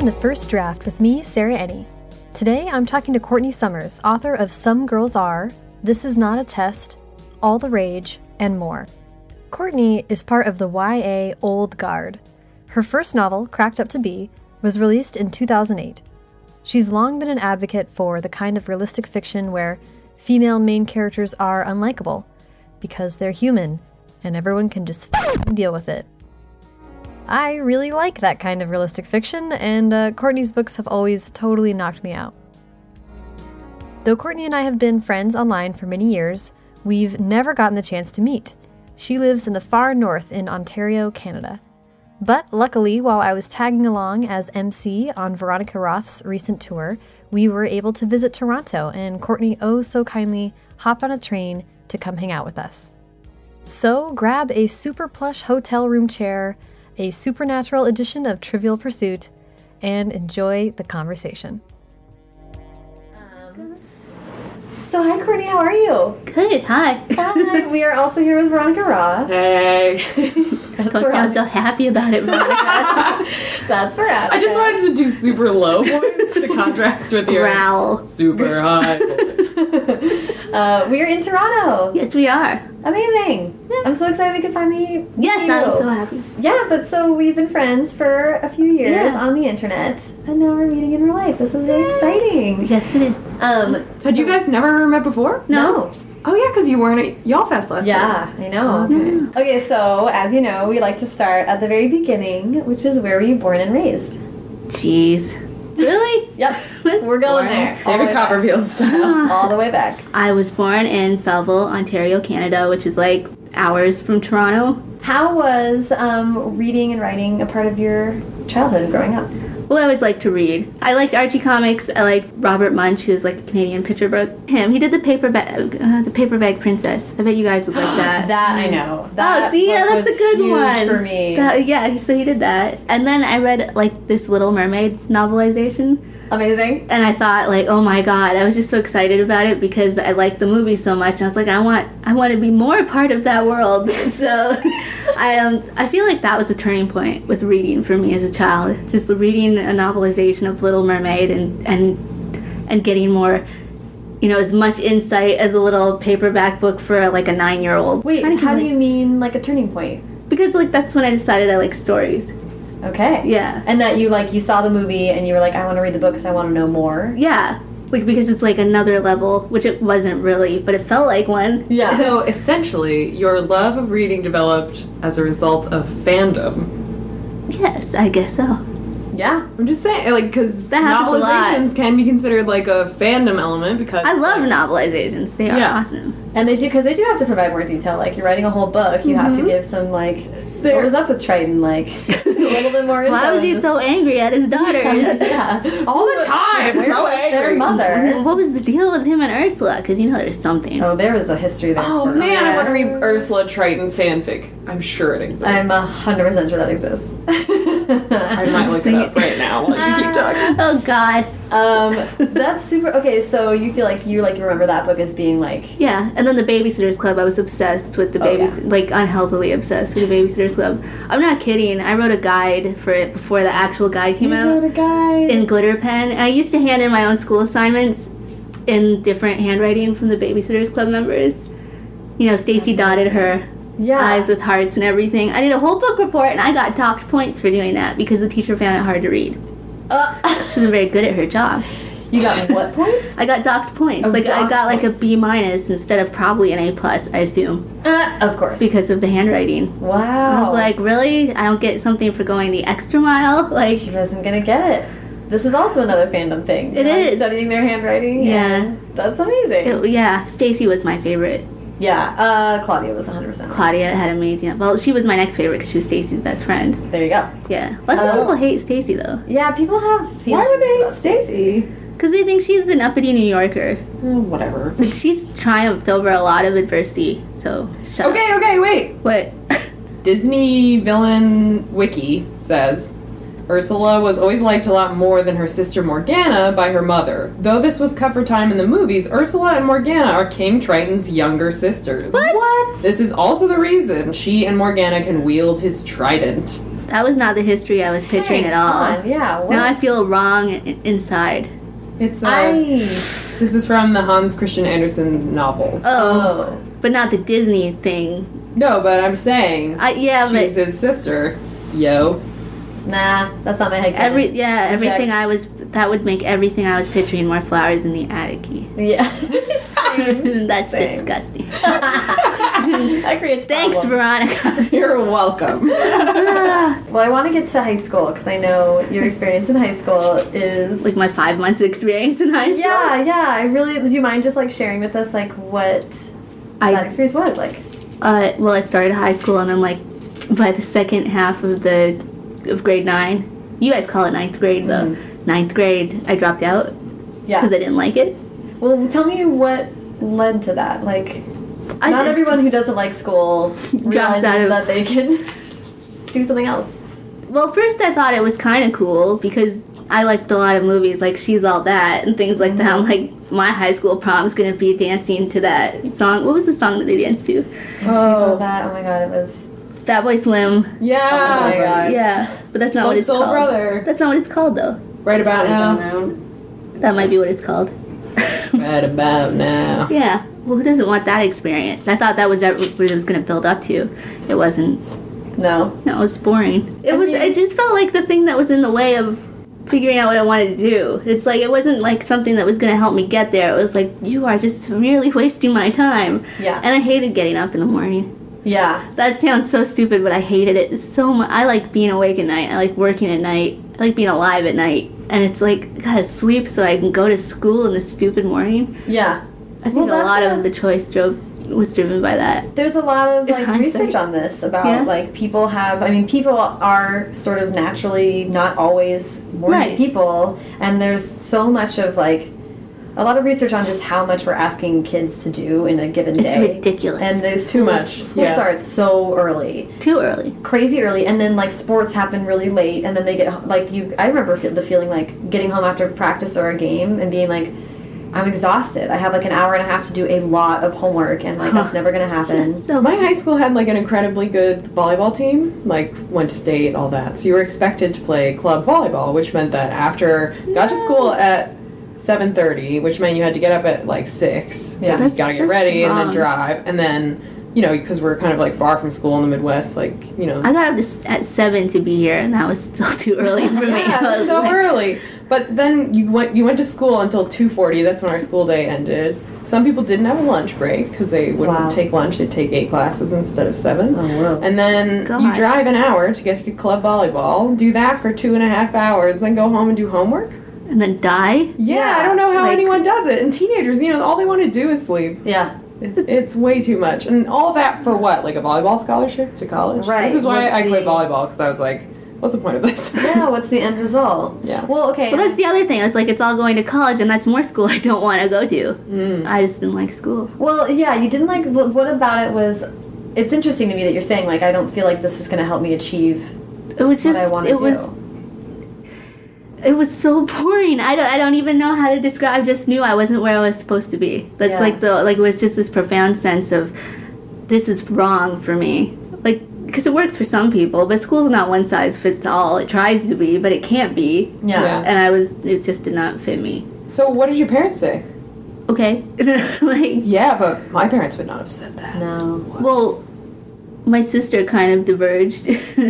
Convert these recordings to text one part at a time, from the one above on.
Draft with me, Sarah Ennie. Today I'm talking to Courtney Summers, author of Some Girls Are, This Is Not a Test, All the Rage, and more. Courtney is part of the YA Old Guard. Her first novel, Cracked Up to Be, was released in 2008. She's long been an advocate for the kind of realistic fiction where female main characters are unlikable because they're human and everyone can just deal with it. I really like that kind of realistic fiction, and uh, Courtney's books have always totally knocked me out. Though Courtney and I have been friends online for many years, we've never gotten the chance to meet. She lives in the far north in Ontario, Canada. But luckily, while I was tagging along as MC on Veronica Roth's recent tour, we were able to visit Toronto, and Courtney oh so kindly hopped on a train to come hang out with us. So grab a super plush hotel room chair, a supernatural edition of Trivial Pursuit, and enjoy the conversation. So, hi, Courtney, how are you? Good, hi. Hi, we are also here with Veronica Roth. Hey. That's Don't sound Veronica. so happy about it, Veronica. That's Veronica. I just wanted to do super low voice to contrast with your Growl. super high. Uh, we are in Toronto. Yes, we are. Amazing. I'm so excited we could finally. Yes, meet you. I'm so happy. Yeah, but so we've been friends for a few years Yeah. on the internet, and now we're meeting in real life. This is really exciting. Yes, it is. Um, Had you guys never met before? No. Oh yeah, because you weren't at Y'all Fest last year. Yeah, I know. Okay. okay, so as you know, we like to start at the very beginning, which is where were you born and raised? Jeez. Really? Yep, we're going there. all the David way Copperfield style. back. Ah. All the way back. I was born in Belleville, Ontario, Canada, which is like hours from Toronto. How was um, reading and writing a part of your childhood growing up? Well, I always liked to read. I liked Archie comics. I liked Robert Munch, who's like a Canadian picture book. Him, he did the paper bag, uh, the paper bag princess. I bet you guys would like that. That I know. oh, see, yeah, book that's was a good huge one for me. That- yeah, so he did that, and then I read like this Little Mermaid novelization, Amazing. and I thought like, oh my god, I was just so excited about it because I liked the movie so much. And I was like, I want, I want to be more a part of that world. so, I um, I feel like that was a turning point with reading for me as a child. Just reading a novelization of Little Mermaid and and and getting more. You know, as much insight as a little paperback book for like a nine-year-old. Wait, I how can, do you mean like a turning point? because like that's when I decided I like stories. Okay. Yeah. And that you like you saw the movie and you were like, I want to read the book because I want to know more. Yeah. Like because it's like another level, which it wasn't really, but it felt like one. Yeah. So essentially, your love of reading developed as a result of fandom. Yes, I guess so. yeah. I'm just saying, like, because That happens a lot. novelizations can be considered like a fandom element because I love novelizations. They are Yeah. awesome. And they do because they do have to provide more detail. Like you're writing a whole book, you Mm-hmm. have to give some like what was up with Triton, like a little bit more. Why info was in he this- so angry at his daughters? yeah. all the time. Where so was their angry. And mother? then what was the deal with him and Ursula? Because you know there's something. Oh, there was a history there. Oh for- man, I want to read Yeah. Ursula Triton fanfic. I'm sure it exists. I'm a hundred percent sure that exists. I might look it up right now while you keep talking. Oh God. um, that's super. Okay, so you feel like you like remember that book as being like Yeah. And then the Babysitters Club. I was obsessed with the Oh, babies, like unhealthily obsessed with the Babysitters Club. I'm not kidding. I wrote a guide for it before the actual guide came out. a guy. in glitter pen. And I used to hand in my own school assignments in different handwriting from the babysitters club members. You know, Stacy dotted her Yeah. eyes with hearts and everything. I did a whole book report and I got docked points for doing that because the teacher found it hard to read. Uh, She wasn't very good at her job. you got what points? I got docked points. Oh, like I docked got like a points. B minus instead of probably an A plus, I assume, Uh, of course. because of the handwriting. I Wow. was like, really? I don't get something for going the extra mile? Like, she wasn't gonna get it. This is also another fandom thing. It It is is. studying their handwriting. Yeah. and that's amazing. it- yeah, Stacy was my favorite. yeah, uh, Claudia was 100. percent Claudia had amazing. Well, she was my next favorite because she was Stacy's best friend. There you go. Yeah, lots Oh. of people hate Stacy though, Yeah, people have. Why would they hate feelings about Stacy? because they think she's an uppity New Yorker. Oh, whatever. Like she's triumphed over a lot of adversity. So shut up. Okay, okay, wait. What? Disney villain wiki says Ursula was always liked a lot more than her sister Morgana by her mother. Though this was cut for time in the movies, Ursula and Morgana are King Triton's younger sisters. What? This is also the reason she and Morgana can wield his trident. That was not the history I was picturing Hang at all. on, Yeah. What? Now I feel wrong i- inside. it's uh, I. this is from the Hans Christian Andersen novel. Oh, Oh. but not the Disney thing. No, but I'm saying I, yeah, she's but his sister. Yo. Nah, that's not my head. every yeah everything Reject. I was that would make everything I was picturing more flowers in the attic. Yeah. That's Mm-hmm. Same. disgusting. that creates Thanks, problems. Veronica. You're welcome. Ah, Well, I want to get to high school because I know your experience in high school is like my five months of experience in high school. yeah, yeah. I really. Do you mind just like sharing with us like what that I experience was like? uh, well, I started high school and then like by the second half of the of grade nine, you guys call it ninth grade though. Ninth grade, I dropped out Mm-hmm. Yeah. because I didn't like it. Well, tell me what led to that. Like, I not did- everyone who doesn't like school realizes out of- that they can do something else. Well, first I thought it was kind of cool because I liked a lot of movies like She's All That and things like that. I'm Mm-hmm. like, my high school prom's gonna be dancing to that song. What was the song that they danced to? And she saw that. Oh my god, it was. Fat Boy Slim. Yeah. Oh my God. Yeah, but that's not what Club it's Uh, Soul called. Brother. That's not what it's called though. Right about now. That might be what it's called. Right about now. yeah. Well, who doesn't want that experience? I thought that was ev- what it was gonna build up to. It wasn't. No. No, it was boring. It I was. mean- it just felt like the thing that was in the way of figuring out what I wanted to do. It's like it wasn't like something that was gonna help me get there. It was like you are just really wasting my time. Yeah. And I hated getting up in the morning. Yeah. That sounds so stupid, but I hated it so much. I like being awake at night. I like working at night. I like being alive at night. And it's like gotta sleep so I can go to school in the stupid morning. Yeah. I think Well, a that's lot a- of the choice drove was driven by that. There's a lot of In like hindsight. research on this about Yeah. like people have. I mean, people are sort of naturally not always morning Right. people, and there's so much of like a lot of research on just how much we're asking kids to do in a given It's day. ridiculous. And the Too schools- much. School Yeah. starts so early. Too early. crazy early and then like sports happen really late and then they get like you i remember feel, the feeling like getting home after practice or a game and being like i'm exhausted i have like an hour and a half to do a lot of homework and like that's never gonna happen So My high school had like an incredibly good volleyball team, like went to state, all that. So you were expected to play club volleyball, which meant that after got to school at seven thirty, which meant you had to get up at like six. Yeah. because you That's gotta get just ready and then wrong. drive, and then you know because we're kind of like far from school in the Midwest, like you know. I got up this at seven to be here, and that was still too early for me. yeah, I was it was so like- early. But then you went you went to school until two forty. That's when our school day ended. Some people didn't have a lunch break because they wouldn't Wow. Oh, take lunch. They'd take eight classes instead of seven. whoa And then you God. drive an hour to get to club volleyball, do that for two and a half hours, then go home and do homework? and then die. Yeah, Yeah, I don't know how like- anyone does it. And teenagers, you know, all they want to do is sleep. yeah It's, it's way too much. And all that for what? Like a volleyball scholarship to college? Right, This is why what's I quit the- volleyball because I was like, what's the point of this? yeah what's the end result Yeah. well okay Well, that's the other thing. It's like it's all going to college, and that's more school I don't want to go to. Mm. I just didn't like school. Well, yeah, you didn't like. wh- What about it was? It's interesting to me that you're saying like I don't feel like this is going to help me achieve It was just what I want to it do. was it was so boring. I don't I don't even know how to describe. I just knew I wasn't where I was supposed to be. That's Yeah. like the like it was just this profound sense of this is wrong for me. Like because it works for some people, but school's not one size fits all. It tries to be, but it can't be. yeah. Yeah. And I was it just did not fit me. So what did your parents say? Okay. like Yeah, but my parents would not have said that. No. well my sister kind of diverged.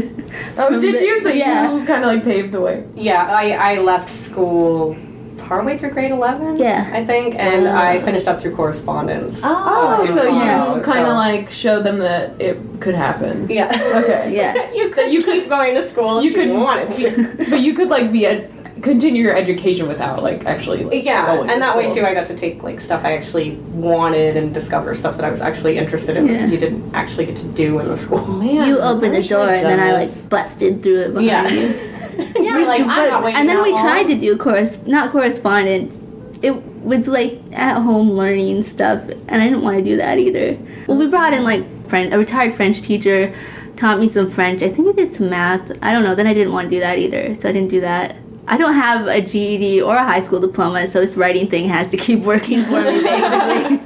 Oh, From did the- you? So yeah. you kind of like paved the way. Yeah, I, I left school partway through grade 11, Yeah. I think, and Ah. I finished up through correspondence. Oh. Oh, so you Yeah, kind of so- like showed them that it could happen. Yeah. Okay. yeah. you could you keep going to school if you could wanted to. but you could like be a continue your education without like actually like, Yeah, going to and that way school. too, I got to take like stuff I actually wanted and discover stuff that I was actually interested in Yeah. that you didn't actually get to do in the school. Oh, Man, you I opened the wish I'd door and then done I this. like busted through it behind Yeah. you. yeah, We- like I'm but- not waiting and then that we long. tried to do corres not correspondence. It was like at home learning stuff, and I didn't want to do that either. Well, we brought in like French, a retired French teacher, taught me some French. I think we did some math. I don't know. Then I didn't want to do that either, so I didn't do that. I don't have a GED or a high school diploma, so this writing thing has to keep working for me. Basically,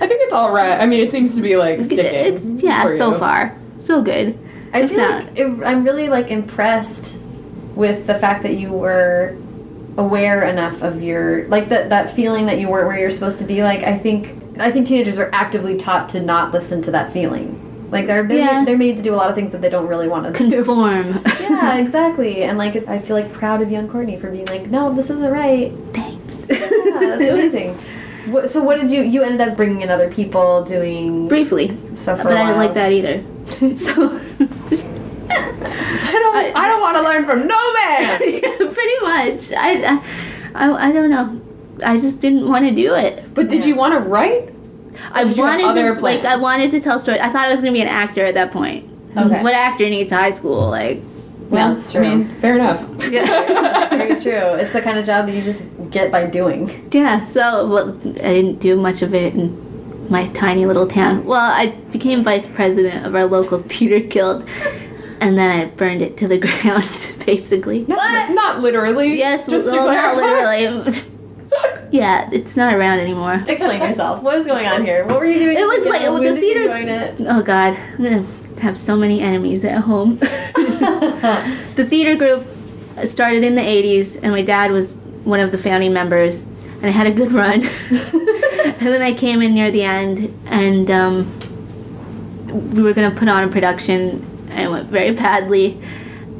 I think it's all right. I mean, it seems to be like sticking. it's yeah, for so you. far so good. I If feel not- like it, I'm really like impressed with the fact that you were aware enough of your like that that feeling that you weren't where you're supposed to be. Like I think I think teenagers are actively taught to not listen to that feeling. Like they're they're, Yeah. they're made to do a lot of things that they don't really want to do. Conform. yeah, exactly. And like I feel like proud of young Courtney for being like, no, this isn't right. Thanks. Yeah, that's amazing. What, so what did you you ended up bringing in other people doing Briefly, stuff for but a I didn't while. like that either. So, just I don't. I, don't want to learn from no man. yeah, pretty much. I, I- I, I don't know. I just didn't want to do it. But did you want to write? Oh, I did you have wanted other to, like I plans? wanted to tell stories. I thought I was gonna be an actor at that point. Okay. What actor needs high school? Like, Well, that's I true. mean, fair enough. yeah. Very true. It's the kind of job that you just get by doing. yeah. So well, I didn't do much of it in my tiny little town. Well, I became vice president of our local theater guild, and then I burned it to the ground, basically. Not, not literally. Yes, Just to well, not clarify. literally. yeah, it's not around anymore. Explain yourself. What is going on here? What were you doing? It was Yeah, like- it was when the did you theater- join it? Oh God, I'm gonna have so many enemies at home. the theater group started in the '80s, and my dad was one of the founding members, and I had a good run. and then I came in near the end, and um, we were gonna put on a production, and it went very badly.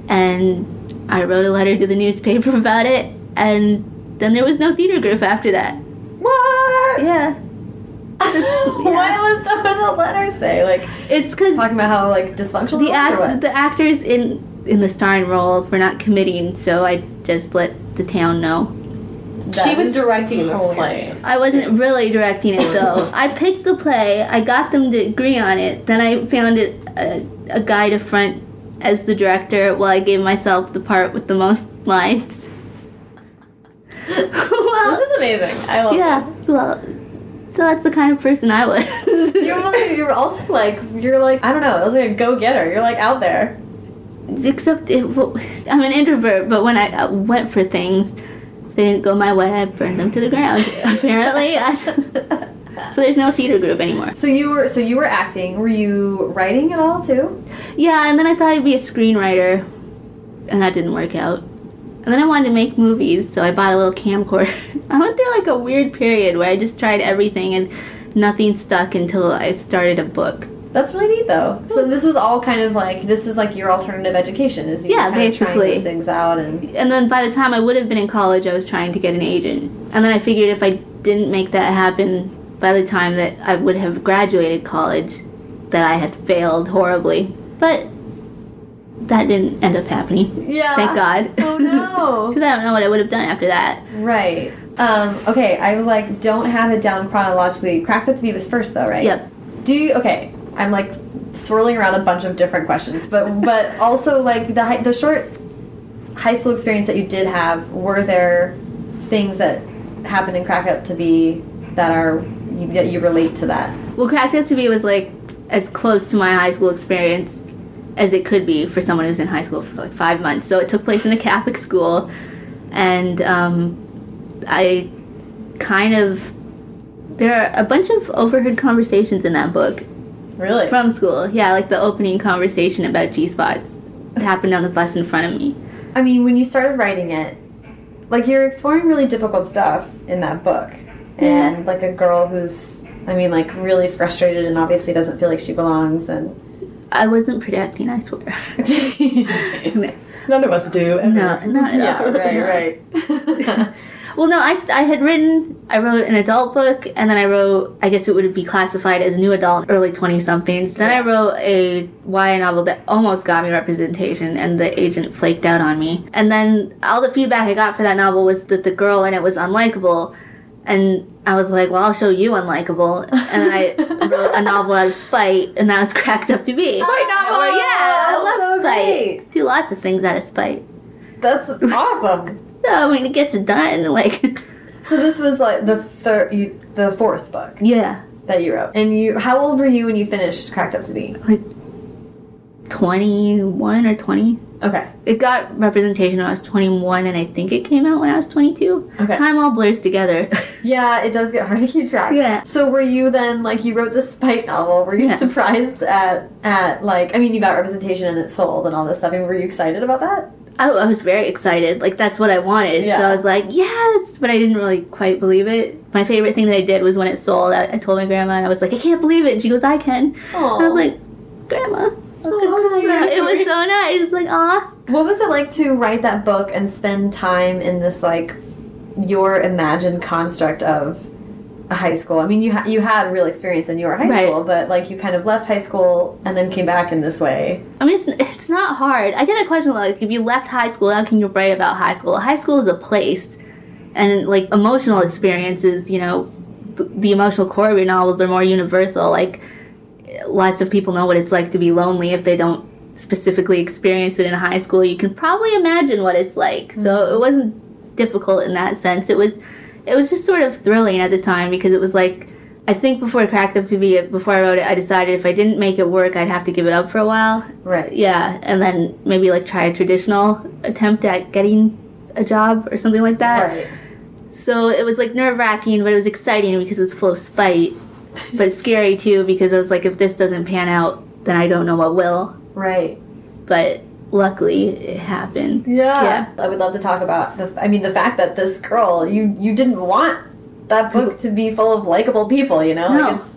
And I wrote a letter to the newspaper about it, and then there was no theater group after that. What? Yeah, Why was the, what did the letter say? Like it's because talking about how like dysfunctional the it was or what? act, the actors in in the starring role were not committing, so I just let the town know. That she was is directing this play. hilarious. I wasn't really directing it though. I picked the play, I got them to agree on it, then I found it a, a guy to front as the director while I gave myself the part with the most lines. This well, is amazing. I love. yeah, well, so that's the kind of person I was. This. You're really- you're also like you're like I don't know. It was like a go getter. You're like out there. except it, well, I'm an introvert, but when I uh, went for things, they didn't go my way. I burned them to the ground. apparently, I, so there's no theater group anymore. So you were so you were acting. Were you writing at all too? Yeah, and then I thought I'd be a screenwriter, and that didn't work out. And then I wanted to make movies, so I bought a little camcorder. I went through like a weird period where I just tried everything and nothing stuck until I started a book. That's really neat though. So this was all kind of like this is like your alternative education is you Yeah, kind of trying basically. these things out and and then by the time I would have been in college, I was trying to get an agent. And then I figured if I didn't make that happen by the time that I would have graduated college, that I had failed horribly. But that didn't end up happening. Yeah. Thank God. Oh no. Because I don't know what I would have done after that. right. Um, okay, I was like, don't have it down chronologically. Crack the Beavis first, though, right? Yep. Do you? Okay, I'm like swirling around a bunch of different questions, but but also like the hi- the short high school experience that you did have. Were there things that happened in Crack Up to be that are that you relate to that? Well, Cracked Up to Be was like as close to my high school experience as it could be for someone who's in high school for like five months. So it took place in a Catholic school, and um, I kind of there are a bunch of overheard conversations in that book Really? from school. Yeah, like the opening conversation about G spots happened on the bus in front of me. I mean, when you started writing it, like you're exploring really difficult stuff in that book, and like a girl who's, I mean, like really frustrated and obviously doesn't feel like she belongs, and I wasn't projecting, I swear. no, None of us do. not at yeah, all. right, No. right. Well, no, I, st- I had written, I wrote an adult book, and then I wrote, I guess it would be classified as new adult, early 20 somethings. Then I wrote a YA novel that almost got me representation, and the agent flaked out on me. And then all the feedback I got for that novel was that the girl in it was unlikable. And I was like, well, I'll show you unlikable. And I wrote a novel out of spite, and that was cracked up to be. Spite novel! Or, Yeah, I love Oh, So spite. great. Do lots of things out of spite. That's awesome. So, I mean, it gets it done. Like, So this was like the third, you, the fourth book yeah. that you wrote, and you, how old were you when you finished Cracked Up to Be? 21 or 20. Okay. It got representation when I was 21, and I think it came out when I was 22. Okay. Time all blurs together. Yeah, it does get hard to keep track. Yeah. So were you then like you wrote this spite novel? Were you Yeah. surprised at at like I mean you got representation and it sold and all this stuff. I mean, were you excited about that? I, I was very excited. Like that's what I wanted. So Yeah. I was like, yes, but I didn't really quite believe it. My favorite thing that I did was when it sold. I, I told my grandma, and I was like, I can't believe it. And she goes, I can. Oh. And I was like, Grandma, that's very it was sweet. so nice. Like, ah, What was it like to write that book and spend time in this like your imagined construct of a high school? I mean, you ha- you had real experience in your high Right. school, but like you kind of left high school and then came back in this way. I mean, it's it's not hard. I get a question like, if you left high school, how can you write about high school? High school is a place, and like emotional experiences, you know, th- the emotional core of your novels are more universal. Like, lots of people know what it's like to be lonely if they don't specifically experience it in high school. You can probably imagine what it's like. So it wasn't difficult in that sense. It was, it was just sort of thrilling at the time because it was like. I think before Cracked Up to Be, before I wrote it, I decided if I didn't make it work, I'd have to give it up for a while. Right. Yeah, and then maybe like try a traditional attempt at getting a job or something like that. Right. So it was like nerve wracking, but it was exciting because it was full of spite, but scary too because I was like, if this doesn't pan out, then I don't know what will. Right. But luckily, it happened. Yeah. I would love to talk about the I mean the fact that this girl you you didn't want that book to be full of likable people, you know? No. Like it's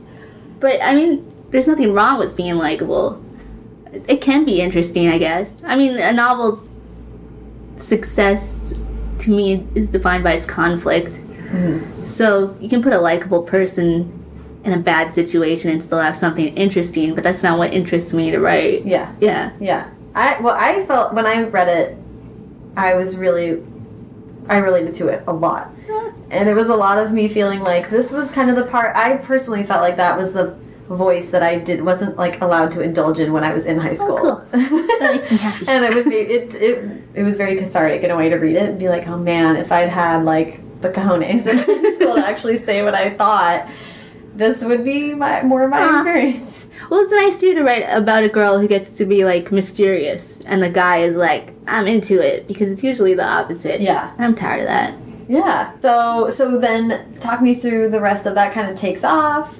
But I mean, there's nothing wrong with being likable. It can be interesting, I guess. I mean, a novel's success to me is defined by its conflict. Mm-hmm. So you can put a likable person in a bad situation and still have something interesting, but that's not what interests me to write. yeah. Yeah. Yeah. I well I felt when I read it I was really I related to it a lot. And it was a lot of me feeling like this was kind of the part I personally felt like that was the voice that I did wasn't like allowed to indulge in when I was in high school. Oh, cool. That makes me happy. and it would be it, it it was very cathartic in a way to read it and be like, oh man, if I'd had like the cojones in high school to actually say what I thought, this would be my more my Ah. experience. Well, it's nice too to write about a girl who gets to be like mysterious, and the guy is like, "I'm into it," because it's usually the opposite. Yeah. and I'm tired of that. Yeah. So so then talk me through the rest of that kind of takes off.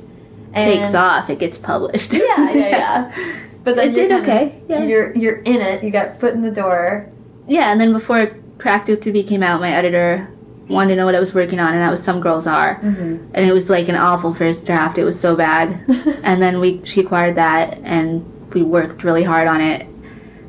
And takes off, it gets published. Yeah, yeah, yeah. But then It you're did kinda- okay, yeah. You're you're in it. You got foot in the door. Yeah, and then before Cracked Up to Be came out, my editor wanted to know what I was working on, and that was Some Girls Are. Mm-hmm. And it was like an awful first draft. It was so bad. and then we she acquired that, and we worked really hard on it.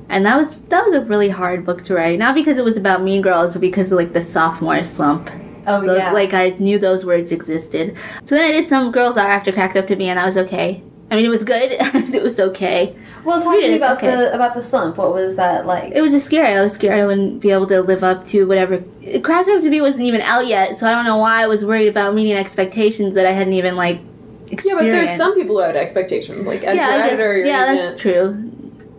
And that was that was a really hard book to write. Not because it was about mean girls, but because of like the sophomore slump. Oh Those- yeah. Like I knew those words existed. So then I did some girls are after cracked up to me, and that was okay. I mean, it was good. it was okay. well, talk read to it, me it's about okay. the about the slump. What was that like? It was just scary. I was scared I wouldn't be able to live up to whatever. Cracked up to me wasn't even out yet, so I don't know why I was worried about meeting expectations that I hadn't even like. Experienced. Yeah, but there's some people who had expectations, like editor, Yeah, I guess- editor, your yeah, agent, that's true.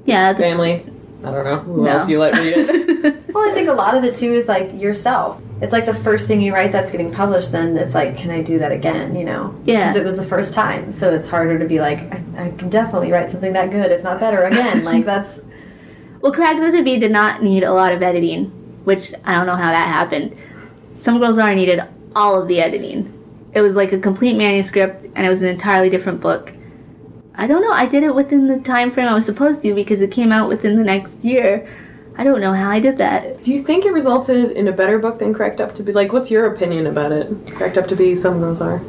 Yeah. that's- family. I don't know who No. else you let read it. Well, I think a lot of it too is like yourself. It's like the first thing you write that's getting published, then it's like, can I do that again? You know? Yeah. Because it was the first time, so it's harder to be like, I, I can definitely write something that good, if not better, again. like that's Well, Cracked Up to Be did not need a lot of editing, which I don't know how that happened. Some Girls Are needed all of the editing. It was like a complete manuscript, and it was an entirely different book. I don't know. I did it within the time frame I was supposed to because it came out within the next year. I don't know how I did that. Do you think it resulted in a better book than Cracked Up to Be? Like, what's your opinion about it? Cracked Up to Be, some of those are.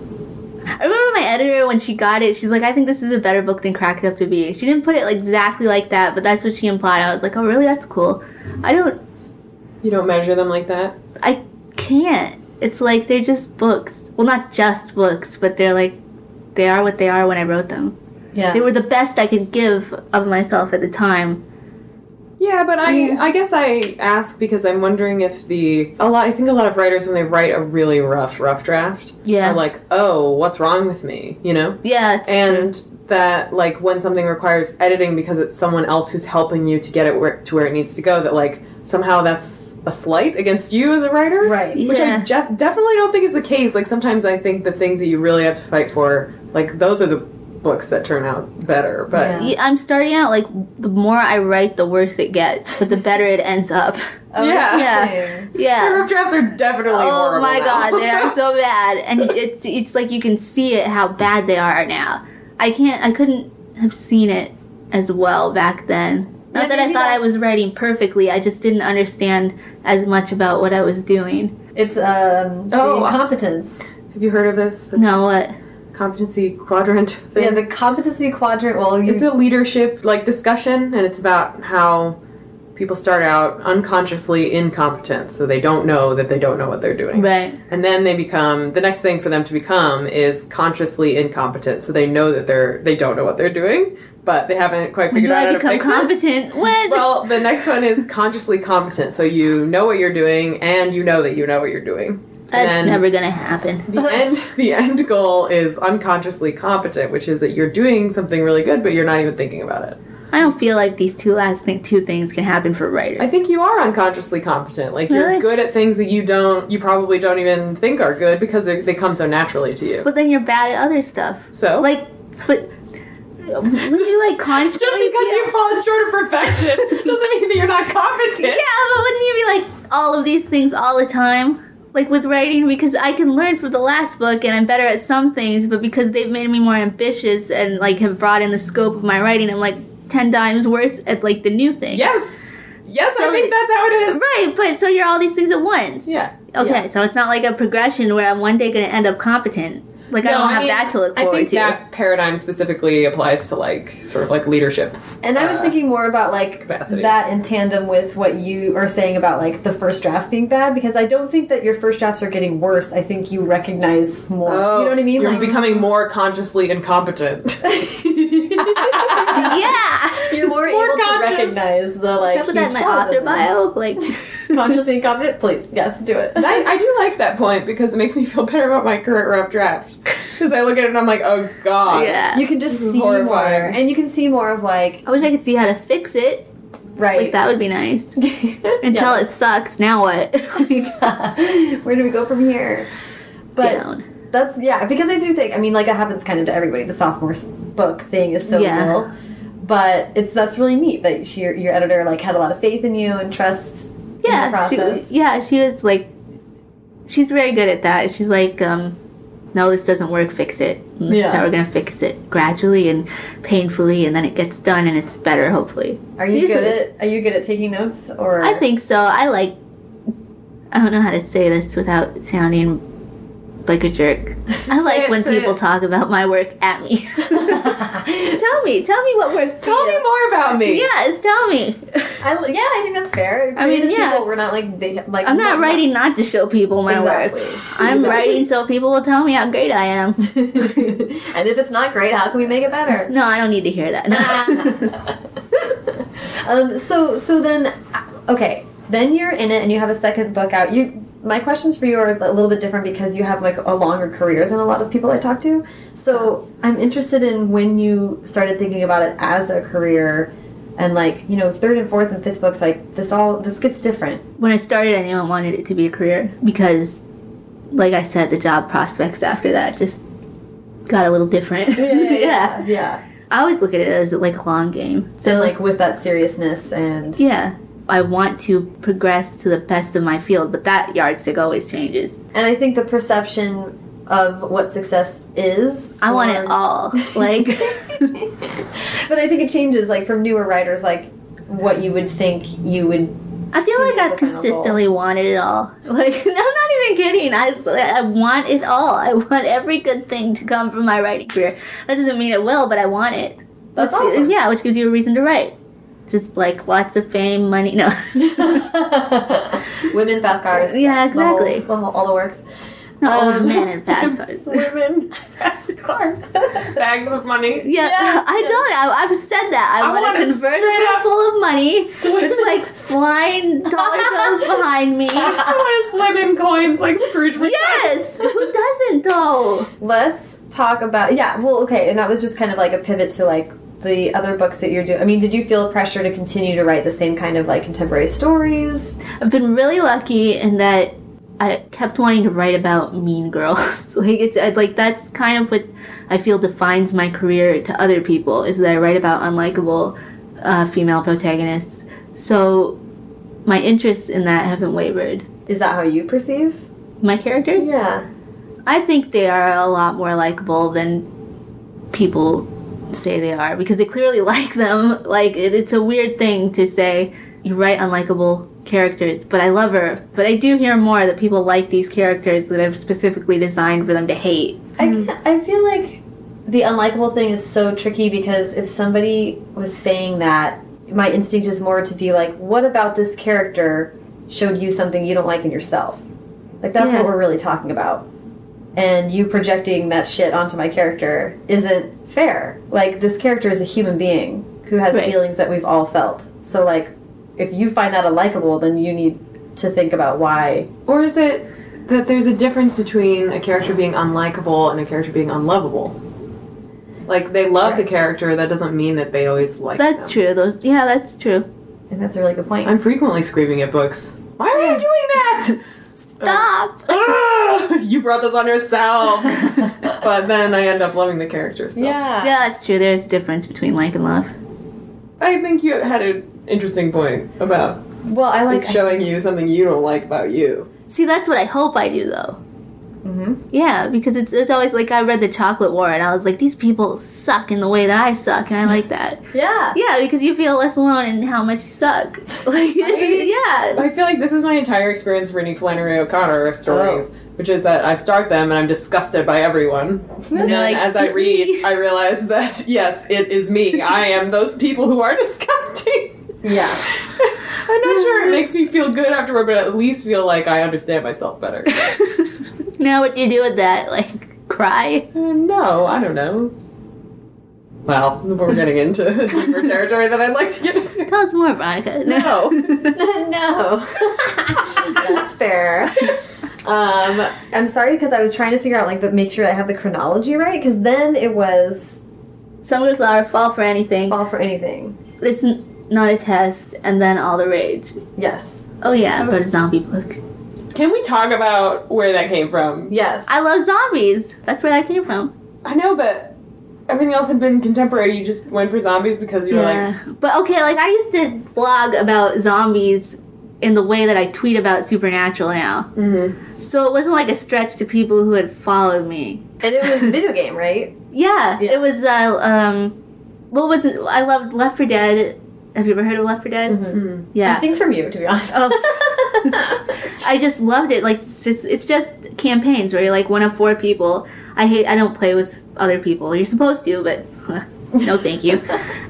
I remember my editor when she got it. She's like, "I think this is a better book than Cracked Up to Be." She didn't put it like exactly like that, but that's what she implied. I was like, "Oh, really? That's cool." I don't. You don't measure them like that? I can't. It's like they're just books. Well, not just books, but they're like they are what they are when I wrote them. yeah. They were the best I could give of myself at the time. Yeah, but I Mm. I guess I ask because I'm wondering if the a lot I think a lot of writers when they write a really rough rough draft Yeah. are like, "Oh, what's wrong with me?" you know? Yeah, it's And that like when something requires editing because it's someone else who's helping you to get it where, to where it needs to go that like somehow that's a slight against you as a writer. right. Which I Yeah. def- definitely don't think is the case. Like sometimes I think the things that you really have to fight for, like those are the books that turn out better, but Yeah. Yeah, I'm starting out like the more I write, the worse it gets, but the better it ends up. Oh, Yeah. interesting. Yeah. my rough drafts are definitely Oh horrible. my now. god, they are so bad, and it's it's like you can see it how bad they are now. I can't, I couldn't have seen it as well back then. Not Yeah, that I maybe thought I that's- was writing perfectly, I just didn't understand as much about what I was doing. It's um the Oh, uh, incompetence. Have you heard of this? The No, what? competency quadrant thing? Yeah, the competency quadrant. Well, you it's a leadership like discussion and it's about how people start out unconsciously incompetent so they don't know that they don't know what they're doing Right. and then they become the next thing for them to become is consciously incompetent so they know that they're they don't know what they're doing but they haven't quite When figured do out I how to become fix it competent? When? well, the next one is consciously competent. So you know what you're doing, and you know that you know what you're doing. That's and never gonna happen. the end the end goal is unconsciously competent, which is that you're doing something really good, but you're not even thinking about it. I don't feel like these two last thing, two things can happen for I writers. think you are unconsciously competent. Like Really? you're good at things that you don't, you probably don't even think are good because they they come so naturally to you. But then you're bad at other stuff. So Like, but would you like constantly? just because be- you fall short of perfection doesn't mean that you're not competent. Yeah, but wouldn't you be like all of these things all the time? Like with writing, because I can learn from the last book and I'm better at some things, but because they've made me more ambitious and like have brought in the scope of my writing, I'm like ten times worse at like the new thing. Yes. Yes, So I think it- that's how it is. Right, but so you're all these things at once. Yeah. Okay, so it's not like a progression where I'm one day gonna end up competent. Like I don't have mean, that to look forward I think to. that paradigm specifically applies to like sort of like leadership. and I was uh, thinking more about like capacity. that in tandem with what you are saying about like the first drafts being bad because I don't think that your first drafts are getting worse. I think you recognize more. Oh, you know what I mean? You're Like becoming more consciously incompetent. yeah. you're more, more able conscious. to recognize the like Can I put that in huge my flaws author in them. bio? Like Consciously incompetent, please. Yes, do it. I, I do like that point because it makes me feel better about my current rough draft. Because I look at it and I'm like, oh god. Yeah. you can just This is see horrifying. more, and you can see more of like I wish I could see how to fix it. right. Like that would be nice. Until Until it sucks. Now what? uh, Where do we go from here? But Down. that's yeah, because I do think I mean like it happens kind of to everybody. The sophomore s- book thing is so Yeah. real, but it's that's really neat that she, your, your editor like had a lot of faith in you and trust. in the Yeah, she, process. yeah, she was like, she's very good at that. She's like, um, no, this doesn't work. Fix it. And This is Yeah. how we're gonna fix it gradually and painfully, and then it gets done and it's better. Hopefully, Are you Usually- good at Are you good at taking notes or I think so. I like. I don't know how to say this without sounding like a jerk. I like it, when say people it. talk about my work at me. tell me, tell me what worked. for Tell you. me more about me. Yes, tell me. I, yeah, I think that's fair. I mean, Creative yeah. people, we're not like they like I'm not writing not to show people my exactly. work. I'm writing so people will tell me how great I am. and if it's not great, how can we make it better? No, I don't need to hear that. um, so so then uh, okay then you're in it and you have a second book out you my questions for you are a little bit different because you have like a longer career than a lot of people i talk to so i'm interested in when you started thinking about it as a career and like you know third and fourth and fifth books like this all this gets different when I started, I knew I wanted it to be a career because, like I said, the job prospects after that just got a little different. yeah, yeah. I always look at it as like a long game. So, and like with that seriousness and yeah. I want to progress to the best of my field, but that yardstick always changes. and i think the perception of what success is I want it for- all. Like, but I think it changes like from newer writers, like what you would think you would. I feel See like it I've as a final goal. consistently wanted it all. Like, I'm not even kidding. I, I want it all. I want every good thing to come from my writing career. That doesn't mean it will, but I want it. That's which, awesome. Yeah, which gives you a reason to write. Just like lots of fame, money. No. Women, fast cars. Yeah, the whole- exactly. the whole- all the works. no old Oh. Um, man and fast cars. yeah, Women, fast cars, bags of money. I don't. I, I've said that. I, I want want a a convertible straight-up full of money. swim- It's like flying dollar bills behind me. I want to swim in coins like Scrooge McDuck. Yes! Who doesn't though? Let's talk about yeah. Well, okay, and that was just kind of like a pivot to like the other books that you're doing. I mean, did you feel pressure to continue to write the same kind of like contemporary stories? I've been really lucky in that I kept wanting to write about mean girls. like it's I- like that's kind of what I feel defines my career to other people is that I write about unlikable uh, female protagonists. So my interests in that haven't wavered. Is that how you perceive? My characters, Yeah. I think they are a lot more likable than people say they are because they clearly like them. Like it, it's a weird thing to say you write unlikable characters, but I love her. But I do hear more that people like these characters that I've specifically designed for them to hate. I, can't- I feel like the unlikable thing is so tricky because if somebody was saying that, my instinct is more to be like, what about this character showed you something you don't like in yourself? Like, that's Yeah. what we're really talking about. And you projecting that shit onto my character isn't fair. Like, this character is a human being who has Right. feelings that we've all felt. So, like, if you find that unlikable, then you need to think about why. Or is it that there's a difference between a character being unlikable and a character being unlovable? Like they love Correct. the character, that doesn't mean that they always like. them. That's true. Those, yeah, that's true. And that's a really good point. I'm frequently screaming at books. Why are you doing that? Stop. Ah, you brought this on yourself. but then I end up loving the character. So. yeah, that's true. There's a difference between like and love. I think you had an interesting point about Well, I like like. showing you something you don't like about you. See, that's what I hope I do though. Mhm. Yeah, because it's it's always like I read the Chocolate War and I was like, these people suck in the way that I suck, and I like that. Yeah. Yeah, because you feel less alone in how much you suck. Like, yeah. I feel like this is my entire experience for any Flannery O'Connor stories, which is that I start them and I'm disgusted by everyone. And You're then like, as I read, I realize that yes, it is me. I am those people who are disgusting. Yeah. I'm not sure it makes me feel good afterward, but at least feel like I understand myself better. Uh, now what do you do with that? Like, cry? Uh, no, I don't know. Well, we're getting into deeper territory that I'd like to get into. Tell us more, Veronica. No. no. That's fair. Um, I'm sorry because I was trying to figure out like the make sure I have the chronology right because then it was Some girls are fall for anything. fall for anything. It's n- not a test, and then all the rage. Yes. Oh yeah, I wrote a zombie book. Can we talk about where that came from? Yes. I love zombies. That's where that came from. I know, but everything else had been contemporary. You just went for zombies because you were like, yeah, but okay, like I used to blog about zombies in the way that I tweet about Supernatural now. mm-hmm. So it wasn't like a stretch to people who had followed me. and it was a video game, right? Yeah, Yeah. it was. Uh, um, what was it? I loved Left for Dead. Have you ever heard of Left for Dead? Mm-hmm. I Yeah, think from you, to be honest. Oh. I just loved it. Like it's just it's just campaigns where you're like one of four people. I hate. I don't play with other people. You're supposed to, but. no, thank you.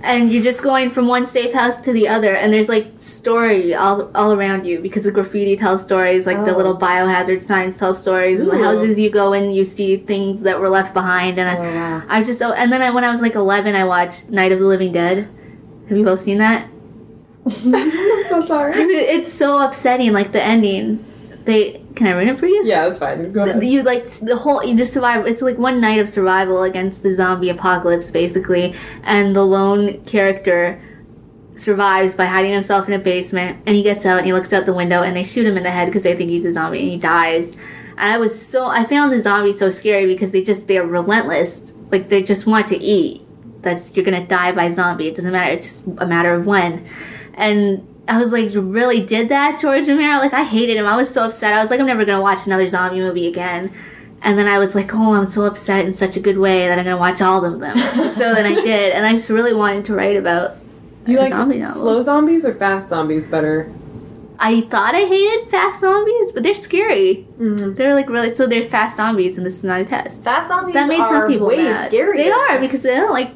and you're just going from one safe house to the other, and there's like story all all around you because the graffiti tells stories, like the Oh. little biohazard signs tell stories, and the Ooh. houses you go in, you see things that were left behind, and I, wow. I just oh, and then I, when I was like 11, I watched Night of the Living Dead. Have you both seen that? I'm so sorry. it's so upsetting. Like the ending, they can I ruin it for you? Yeah, that's fine. Go Th- ahead. You like the whole you just survive. It's like one night of survival against the zombie apocalypse, basically. And the lone character survives by hiding himself in a basement. And he gets out and he looks out the window and they shoot him in the head because they think he's a zombie and he dies. And I was so I found the zombies so scary because they just they're relentless. Like they just want to eat. That's you're gonna die by zombie. It doesn't matter. It's just a matter of when. And I was like, you really did that, George Romero? Like I hated him. I was so upset. I was like, I'm never gonna watch another zombie movie again. And then I was like, oh, I'm so upset in such a good way that I'm gonna watch all of them. so then I did, and I just really wanted to write about. Do you a like zombie novel. slow zombies or fast zombies better? I thought I hated fast zombies, but they're scary. Mm-hmm. They're like really so they're fast zombies, and this is not a test. Fast zombies That made are some people way mad. scarier. They are because they don't like.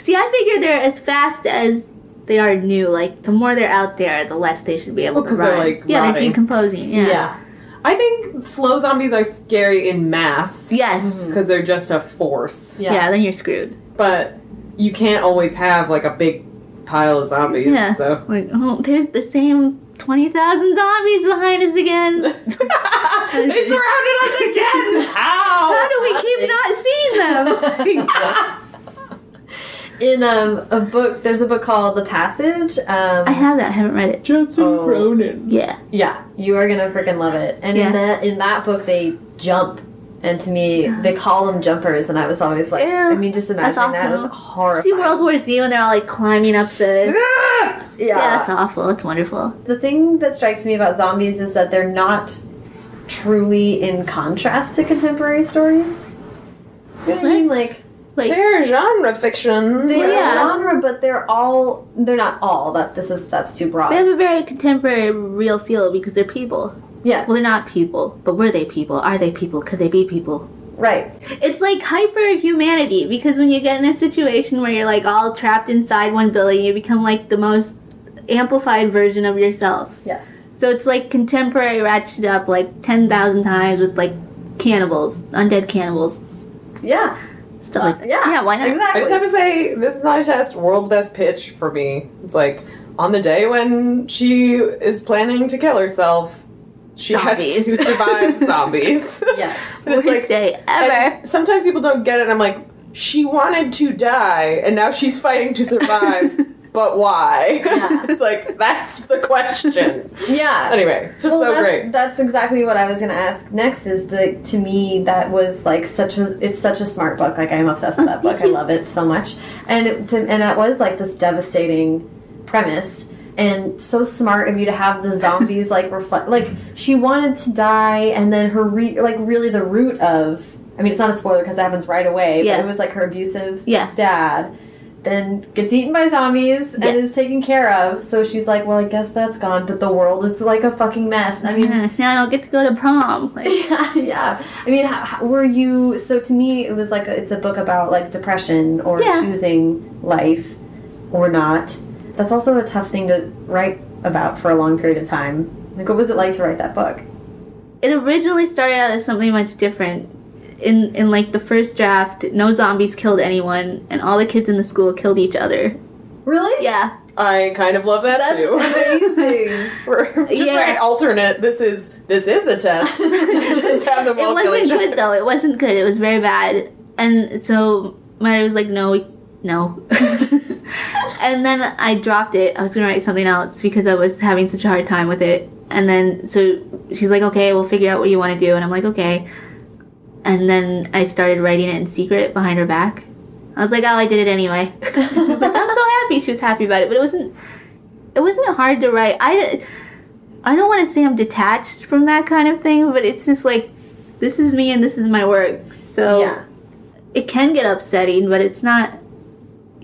See, I figure they're as fast as they are new. Like the more they're out there, the less they should be able Well, to 'cause run. they're, like, yeah, they're rotting. decomposing. Yeah. Yeah. I think slow zombies are scary in mass Yes. because they're just a force. Yeah. Then you're screwed. But you can't always have like a big pile of zombies. Yeah. So Like oh, there's the same twenty thousand zombies behind us they again. surrounded us again. How? How do we keep not seeing them? In um, a book, there's a book called The Passage. Um, I have that. I haven't read it. Justin Oh. Cronin. Yeah. Yeah. You are gonna freaking love it. And Yeah. in that in that book, they jump, and to me, they call them jumpers, and I was always like, Ew, I mean, just imagine that's that awesome. was horrifying. See World War Z when they're all like climbing up the. Ah! Yeah. Yeah, that's awful. It's wonderful. The thing that strikes me about zombies is that they're not truly in contrast to contemporary stories. You know what I mean? Like Like They're genre fiction. they Yeah. are genre, but they're all they're not all that. This is that's too broad. they have a very contemporary, real feel because they're people. yes, Well, they're not people, but were they people? Are they people? Could they be people? right. It's like hyper humanity because when you get in a situation where you're like all trapped inside one building, you become like the most amplified version of yourself. Yes, So it's like contemporary ratcheted up like 10,000 times with like cannibals, undead cannibals, yeah, stuff like that. yeah. yeah why not? Exactly. I just have to say, this is not a test. World's best pitch for me. It's like on the day when she is planning to kill herself, she has to Zombies. survive zombies. Yes. and it's Worst like day ever. and sometimes people don't get it. And I'm like, she wanted to die, and now she's fighting to survive. but why? Yeah. it's like that's the question. yeah. anyway, just well, so that's, great. That's exactly what I was going to ask next. Is the to me that was like such a it's such a smart book. Like I'm obsessed with that book. I love it so much. And it, to, and that was like this devastating premise and so smart of you to have the zombies like reflect like she wanted to die and then her re- like really the root of I mean it's not a spoiler because it happens right away. Yeah. But it was like her abusive Yeah. dad. Then gets eaten by zombies Yeah. and is taken care of. So she's like, "Well, I guess that's gone, but the world is like a fucking mess." I mean, Yeah, Uh, now I don't get to go to prom. Like, yeah, yeah. I mean, how, how, were you? So to me, it was like a, it's a book about like depression or Yeah. choosing life or not. That's also a tough thing to write about for a long period of time. Like, what was it like to write that book? it originally started out as something much different. In in like the first draft, no zombies killed anyone, and all the kids in the school killed each other. Really? Yeah, I kind of love that That's too. amazing. We're- just Yeah. write alternate. This is this is a test. just have them it all kill wasn't each good other. though. It wasn't good. It was very bad. And so my was like, no, we- no. and then I dropped it. I was gonna write something else because I was having such a hard time with it. And then so she's like, okay, we'll figure out what you want to do. And I'm like, okay. And then I started writing it in secret behind her back. I was like, oh, I did it anyway. but I'm so happy she was happy about it. But it wasn't. It wasn't hard to write. I. I don't want to say I'm detached from that kind of thing, but it's just like, this is me and this is my work. So Yeah. it can get upsetting, but it's not.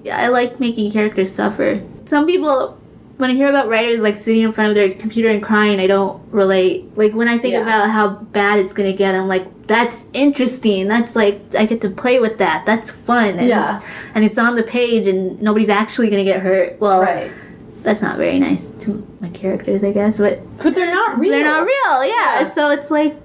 Yeah, I like making characters suffer. Some people, when I hear about writers like sitting in front of their computer and crying, I don't relate. Like when I think Yeah. about how bad it's gonna get, I'm like, that's interesting. That's like I get to play with that. That's fun. And Yeah. it's, and it's on the page, and nobody's actually gonna get hurt. Well, Right. that's not very nice to my characters, I guess, but But they're not real. they're not real. Yeah. Yeah. So it's like,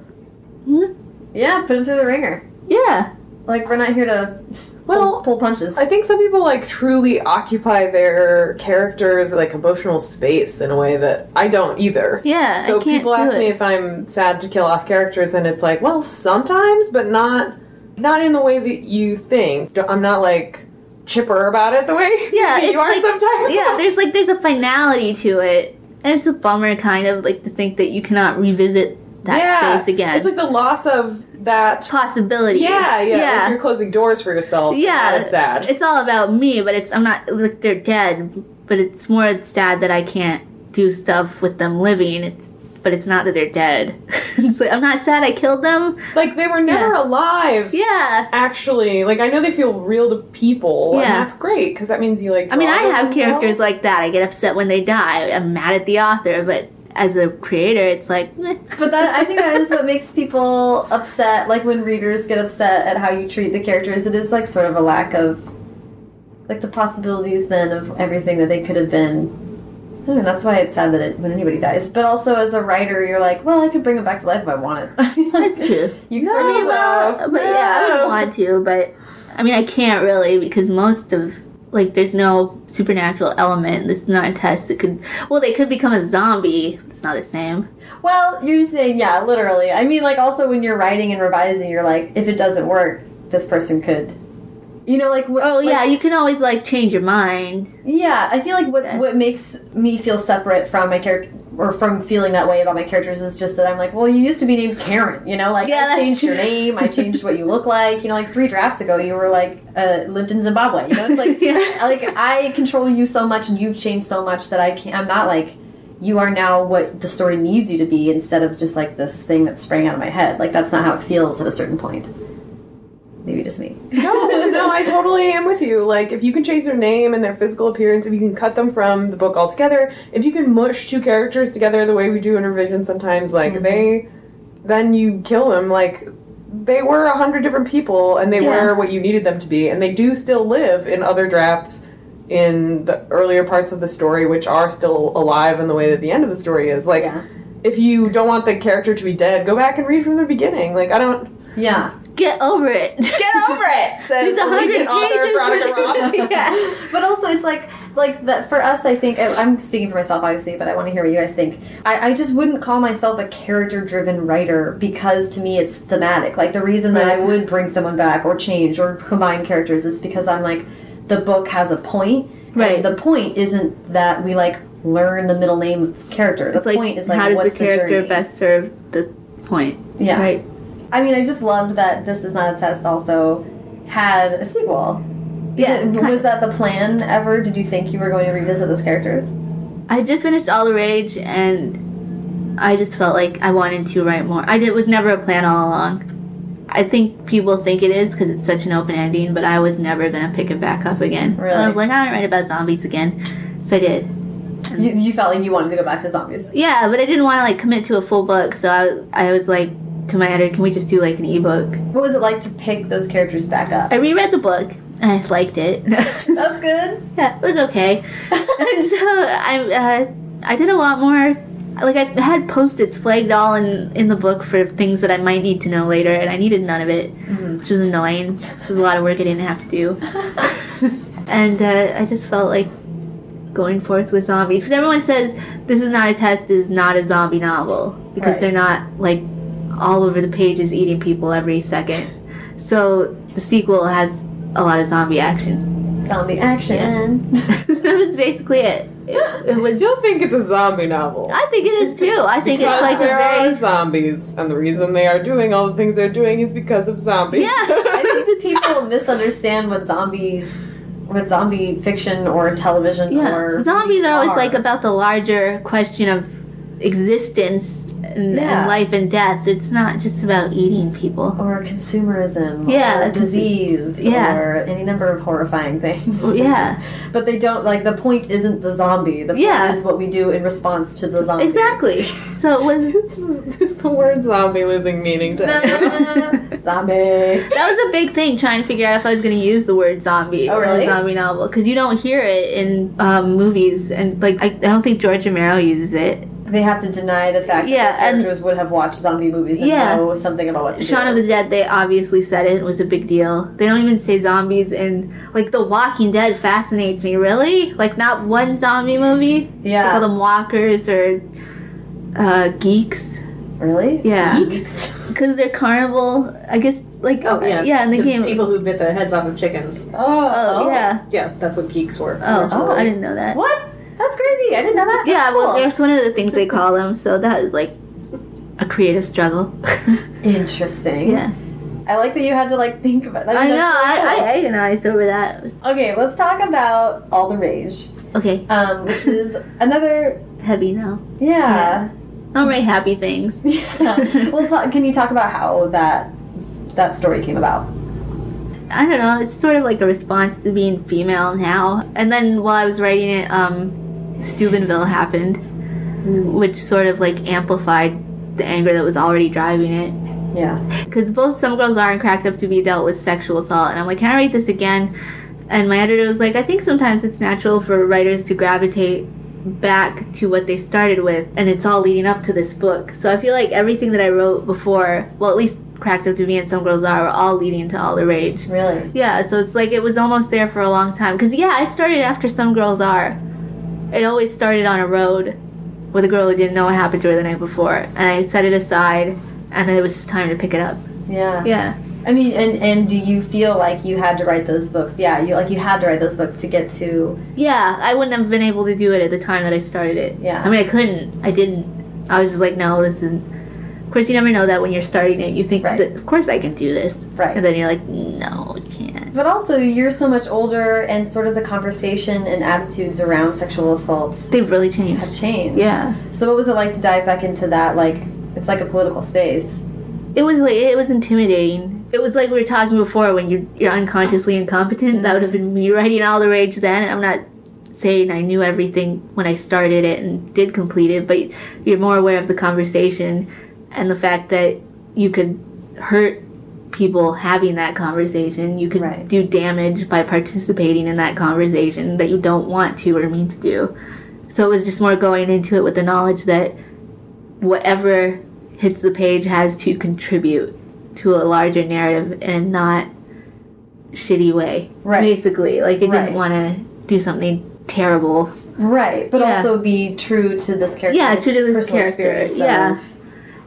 hmm, Yeah. Put him through the ringer. yeah, Like, we're not here to pull, Well, pull punches. I think some people like truly occupy their characters like emotional space in a way that I don't either. yeah. I so can't people do ask it. me if I'm sad to kill off characters, and it's like, well, sometimes, but not not in the way that you think. Don't- I'm not like chipper about it the way Yeah, that it's you are like- sometimes. yeah there's like there's a finality to it and it's a bummer kind of like to think that you cannot revisit that Yeah. space again It's like the loss of that. possibility Yeah, yeah. Like yeah you're closing doors for yourself. Yeah. That is sad. it's all about me but it's i'm not like they're dead but it's more sad that i can't do stuff with them living it's but it's not that they're dead it's like i'm not sad i killed them Like they were never alive. yeah Actually, like I know they feel real to people, and Yeah. that's great because that means you like. i mean i draw have them characters well. like that i get upset when they die i'm mad at the author but as a creator it's like meh. But that I think that is what makes people upset. Like when readers get upset at how you treat the characters, it is like sort of a lack of like the possibilities then of everything that they could have been. I don't know, that's why it's sad that it, when anybody dies. But also as a writer, you're like, well, I could bring them back to life if I wanted. I mean, like, that's true you sort of- well, but yeah, I would want to, but I mean, I can't really because most of like there's no supernatural element. It's not a test. It could well, they could become a zombie. It's not the same. well, you're saying yeah, literally. I mean, like also when you're writing and revising, you're like, if it doesn't work, this person could. You know, like wh- Oh like, yeah, you can always like change your mind. Yeah, I feel like what Yeah. what makes me feel separate from my character or from feeling that way about my characters is just that I'm like, well, you used to be named Karen, you know, like Yeah, I that's changed your true. name, I changed what you look like, you know, like three drafts ago you were like uh, lived in Zimbabwe, you know, it's like Yeah. like I control you so much and you've changed so much that I can't. I'm not like you are now what the story needs you to be instead of just like this thing that sprang out of my head. Like that's not how it feels at a certain point. Maybe just me. No, no, I totally am with you. Like, if you can change their name and their physical appearance, if you can cut them from the book altogether, if you can mush two characters together the way we do in revision sometimes, like they, then you kill them. Like, they were a hundred different people, and they Yeah. were what you needed them to be, and they do still live in other drafts in the earlier parts of the story, which are still alive in the way that the end of the story is. Like, Yeah. if you don't want the character to be dead, go back and read from the beginning. Like, I don't. Yeah, Get over it. Get over it. Says It's a hundred Allegiant author Veronica Roth. pages. yeah. but also it's like like that for us. I think I- I'm speaking for myself, obviously, but I want to hear what you guys think. I, I just wouldn't call myself a character-driven writer because to me it's thematic. Like the reason that I would bring someone back or change or combine characters is because I'm like the book has a point. and Right. the point isn't that we like learn the middle name of this character. The It's like, point is like how does what's the character journey? best serve the point? Yeah. Right. I mean, I just loved that this is not a test. Also, had a sequel. Yeah. was that the plan ever? Did you think you were going to revisit those characters? I just finished All the Rage, and I just felt like I wanted to write more. I did, it was never a plan all along. I think people think it is because it's such an open ending, but I was never gonna pick it back up again. Really? I was like, I don't write about zombies again, so I did. You, you felt like you wanted to go back to zombies. Yeah, but I didn't want to like commit to a full book, so I, I was like to my editor, can we just do like an ebook? What was it like to pick those characters back up? I reread the book and I liked it. That's good. yeah, it was okay. and so I, uh, I did a lot more. Like I had post-its flagged all in in the book for things that I might need to know later, and I needed none of it, which was annoying. It was a lot of work I didn't have to do, and uh, I just felt like going forth with zombies because everyone says this is not a test, this is not a zombie novel because Right. they're not like all over the pages eating people every second. So the sequel has a lot of zombie action. Zombie action. that was basically it. It, it I was. still think it's a zombie novel. I think it is too. I think it's Because like a there very. are zombies, and the reason they are doing all the things they're doing is because of zombies. Yeah. I think people misunderstand what zombies, what zombie fiction or television Yeah, or zombies movies are always like about the larger question of existence and, Yeah. and life and death. It's not just about eating people. or consumerism, Yeah, or disease, yeah. or any number of horrifying things. Yeah, But they don't like the point isn't the zombie. The point Yeah. is what we do in response to the zombie. exactly. So it was. this, is, this is the word zombie losing meaning to everyone. zombie. That was a big thing trying to figure out if I was going to use the word zombie Oh, or really? a zombie novel because you don't hear it in um, movies and like I, I don't think George Romero uses it. They have to deny the fact Yeah, that the and- characters would have watched zombie movies and Yeah. know something about what to Shaun do. of the Dead, they obviously said it was a big deal. They don't even say zombies, and like The Walking Dead fascinates me. Really, like not one zombie movie. They call yeah. them walkers or uh, geeks. Really? Yeah, Geeks. because they're carnival. I guess like Oh yeah, yeah, and they the came. people who bit the heads off of chickens. oh, yeah. Yeah, that's what geeks were. Oh, Oh. I didn't know that. What? That's crazy. I didn't know that. Yeah, That's well, cool. that's one of the things they call them. So that is like a creative struggle. interesting. yeah, I like that you had to like think about that. I know. I, That's I agonized over that. cool. okay, let's talk about all the rage, Okay, um, which is another. heavy now. Yeah. I don't write happy things. yeah. well, talk, can you talk about how that that story came about? I don't know. It's sort of like a response to being female now. And then while I was writing it, um, Steubenville happened, which sort of like amplified the anger that was already driving it. Yeah. Because both some girls are and cracked up to be dealt with sexual assault, and I'm like, can I write this again? And my editor was like, I think sometimes it's natural for writers to gravitate back to what they started with, and it's all leading up to this book. So I feel like everything that I wrote before, well, at least cracked up to be and some girls are, were all leading to all the rage. Really? Yeah, so it's like it was almost there for a long time. Because, yeah, I started after some girls are. It always started on a road with a girl who didn't know what happened to her the night before. And I set it aside, and then it was just time to pick it up. Yeah. Yeah. I mean, and and do you feel like you had to write those books? Yeah, you like you had to write those books to get to Yeah, I wouldn't have been able to do it at the time that I started it. Yeah. I mean, I couldn't. I didn't. I was just like, no, this isn't. Of course, you never know that when you're starting it. You think, Right. that, of course, I can do this. right. And then you're like, no, you can't. But also, you're so much older, and sort of the conversation and attitudes around sexual assault They've really have changed. changed. Yeah. So, what was it like to dive back into that? Like, it's like a political space. It was like, it was intimidating. It was like we were talking before when you're, you're unconsciously incompetent. That would have been me writing all the rage then. I'm not saying I knew everything when I started it and did complete it, but you're more aware of the conversation and the fact that you could hurt people having that conversation. You could Right. do damage by participating in that conversation that you don't want to or mean to do. So it was just more going into it with the knowledge that whatever hits the page has to contribute to a larger narrative in a not shitty way. Right. Basically, like it Right. didn't want to do something terrible. Right, but Yeah. also be true to this character. Yeah, true to this personal character, experience of- yeah.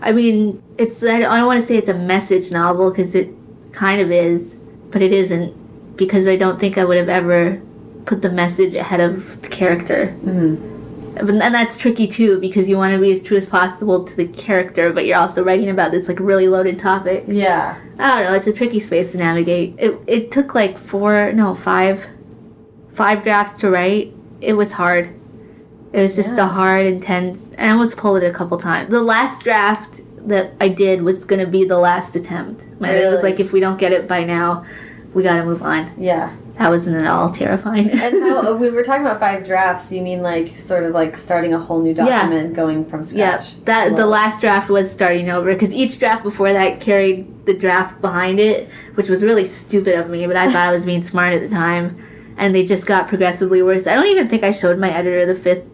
I mean, it's I don't want to say it's a message novel because it kind of is, but it isn't because I don't think I would have ever put the message ahead of the character. Mm-hmm. And and that's tricky too because you want to be as true as possible to the character, but you're also writing about this like really loaded topic. yeah. I don't know. It's a tricky space to navigate. It it took like four, no, five, five drafts to write. It was hard. It was just Yeah. a hard, intense. And I almost pulled it a couple times. The last draft that I did was gonna be the last attempt. My- It was Really? like if we don't get it by now, we gotta move on. Yeah. That wasn't at all terrifying. And how, when we're talking about five drafts, you mean like sort of like starting a whole new document, going from Yeah, scratch. that the Wow. last draft was starting over because each draft before that carried the draft behind it, which was really stupid of me. But I thought I was being smart at the time, and they just got progressively worse. I don't even think I showed my editor the fifth,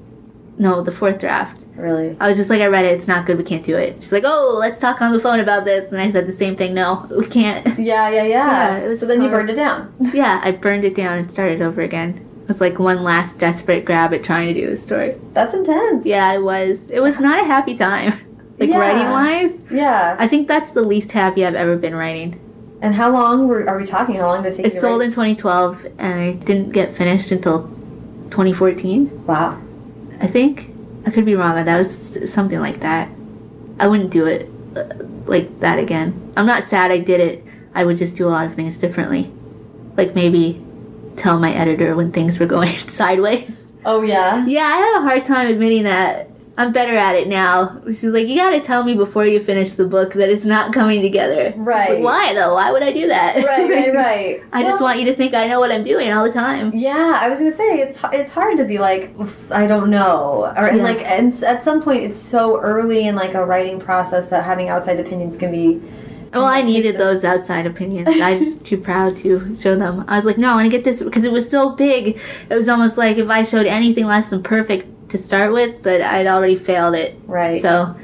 no, the fourth draft. Really? I was just like, I read it. It's not good. We can't do it. She's like, Oh, let's talk on the phone about this. And I said the same thing. No, we can't. Yeah, yeah, yeah. Yeah, it was so then you hard. burned it down. yeah, I burned it down and started over again. It was like one last desperate grab at trying to do the story. That's intense. Yeah, it was. It was not a happy time. Like Yeah. writing wise. Yeah. I think that's the least happy I've ever been writing. And how long were, are we talking? How long did it take It you sold to in 2012 and I didn't get finished until 2014, write? Wow. I think. I could be wrong on that. It was s- something like that. I wouldn't do it uh, like that again. I'm not sad I did it. I would just do a lot of things differently. Like maybe tell my editor when things were going sideways. Oh, yeah? Yeah, I have a hard time admitting that. I'm better at it now. She's like, you gotta tell me before you finish the book that it's not coming together. Right. Like, why though? Why would I do that? Right, right, right. I just Well, want you to think I know what I'm doing all the time. Yeah, I was gonna say it's h- it's hard to be like I don't know, or and Yeah. like and s- at some point it's so early in like a writing process that having outside opinions can be Well, I Take needed this. those outside opinions. I was too proud to show them. I was like, no, I want to get this because it was so big. It was almost like if I showed anything less than perfect to start with, that I'd already failed it. right. So,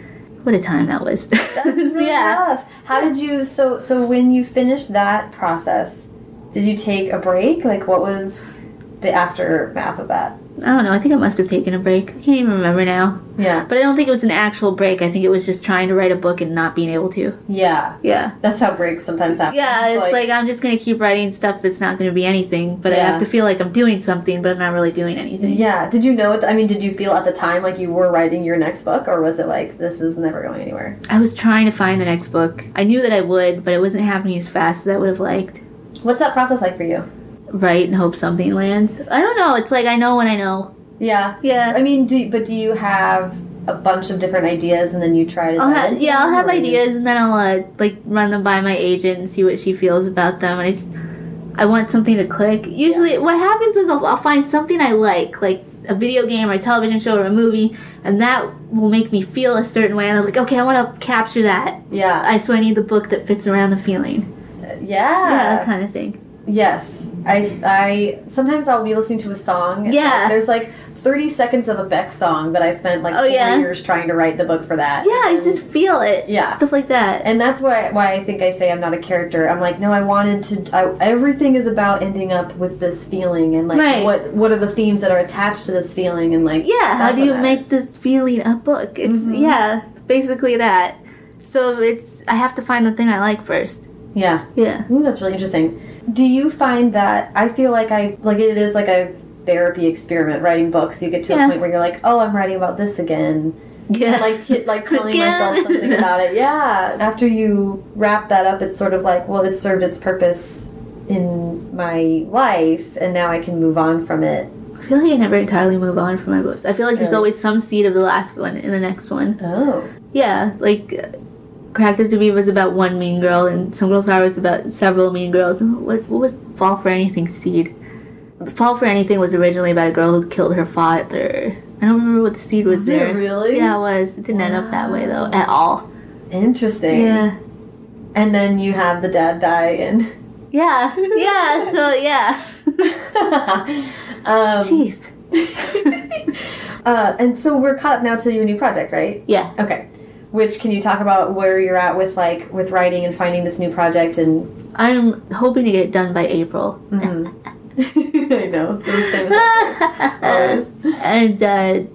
what a time that was. That's really yeah. rough. How did you so so when you finished that process, did you take a break? Like what was the aftermath of that? I don't know. I think I must have taken a break. I can't even remember now. Yeah. But I don't think it was an actual break. I think it was just trying to write a book and not being able to. Yeah. Yeah. That's how breaks sometimes happen. Yeah, it's like, I'm just gonna keep writing stuff that's not gonna be anything, but I Yeah. have to feel like I'm doing something, but I'm not really doing anything. yeah. Did you know? At the, I mean, did you feel at the time like you were writing your next book, or was it like this is never going anywhere? I was trying to find the next book. I knew that I would, but it wasn't happening as fast as I would have liked. What's that process like for you? Write and hope something lands. I don't know. It's like I know when I know. Yeah. Yeah. I mean, do but do you have a bunch of different ideas and then you try to? I'll dive ha- into yeah, I'll them, have or you- ideas and then I'll uh, like run them by my agent and see what she feels about them. And I, s- I want something to click. Usually, what happens is I'll, I'll find something I like, like a video game or a television show or a movie, and that will make me feel a certain way. And I'm like, okay, I want to capture that. Yeah. I, so I need the book that fits around the feeling. Yeah. Yeah, that kind of thing. Yes, I I sometimes I'll be listening to a song. and, Yeah. like, there's like 30 seconds of a Beck song that I spent like Oh, four yeah? years trying to write the book for that. Yeah, I and, just feel it. Yeah. Stuff like that. and that's why why I think I say I'm not a character. I'm like no, I wanted to. I, everything is about ending up with this feeling and like Right. what what are the themes that are attached to this feeling and like Yeah, how that's do you what Mm-hmm. make this feeling a book? It's yeah, basically that. So it's I have to find the thing I like first. Yeah. Yeah. Ooh, that's really interesting. Do you find that I feel like I like it is like a therapy experiment writing books. You get to Yeah. a point where you're like, oh, I'm writing about this again. Yeah. Like t- like telling Again. myself something about it. Yeah. After you wrap that up, it's sort of like, well, it served its purpose in my life, and now I can move on from it. I feel like I never entirely move on from my books. I feel like there's Really? always some seed of the last one in the next one. Oh. Yeah, like uh, Cracked to Be was about one mean girl, and Some Girls Are was about several mean girls. And what, what was Fall for Anything seed? Fall for Anything was originally about a girl who killed her father. I don't remember what the seed was, Is there. it really? Yeah, it was. It didn't end up that way though at all. Interesting. Yeah. And then you have the dad die and. Yeah. Yeah. So yeah. um, Jeez. uh, and so we're caught up now to your new project, right? Yeah. Okay. Which can you talk about where you're at with like with writing and finding this new project and I'm hoping to get it done by April. Mhm. I know those things. Always. and uh,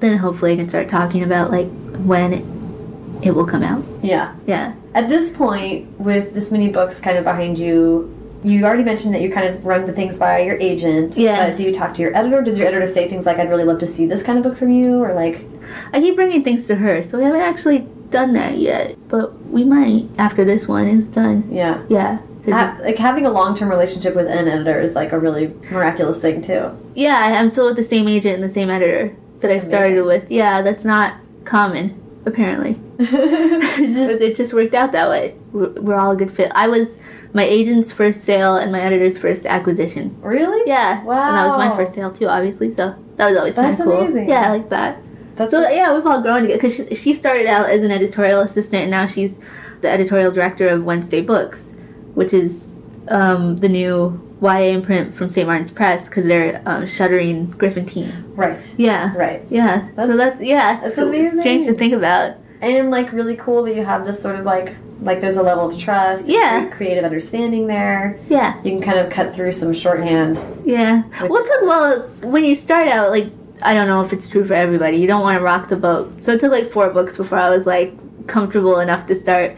then hopefully I can start talking about like when it, it will come out. Yeah. Yeah. At this point, with this many books kind of behind you, you already mentioned that you kind of run the things by your agent. Yeah. But do you talk to your editor? Does your editor say things like, "I'd really love to see this kind of book from you," or like, I keep bringing things to her, so we haven't actually done that yet. But we might after this one is done. yeah. Yeah. 'Cause- Ha- like having a long-term relationship with an editor is like a really miraculous thing too. yeah, I- I'm still with the same agent and the same editor that I started with. Yeah, that's not common, apparently. it, just, it just worked out that way. We're, we're all a good fit. I was my agent's first sale and my editor's first acquisition. really? Yeah. And that was my Wow. first sale too, obviously. So that was always kind That's of cool. amazing. Yeah, I like that. That's So yeah, we've all grown together because she, she started out as an editorial assistant, and now she's the editorial director of Wednesday Books, which is um, the new YA imprint from St. Martin's Press because they're um, shuttering Griffin right. Yeah. Right. Yeah. so That's- that's yeah. that's so amazing. Strange to think about. and like really cool that you have this sort of like like there's a level of trust Yeah. cre- creative understanding there Yeah. you can kind of cut through some shorthand Yeah. With- Well, it took, well, when you start out, like, I don't know if it's true for everybody. You don't want to rock the boat. So it took like four books before I was like comfortable enough to start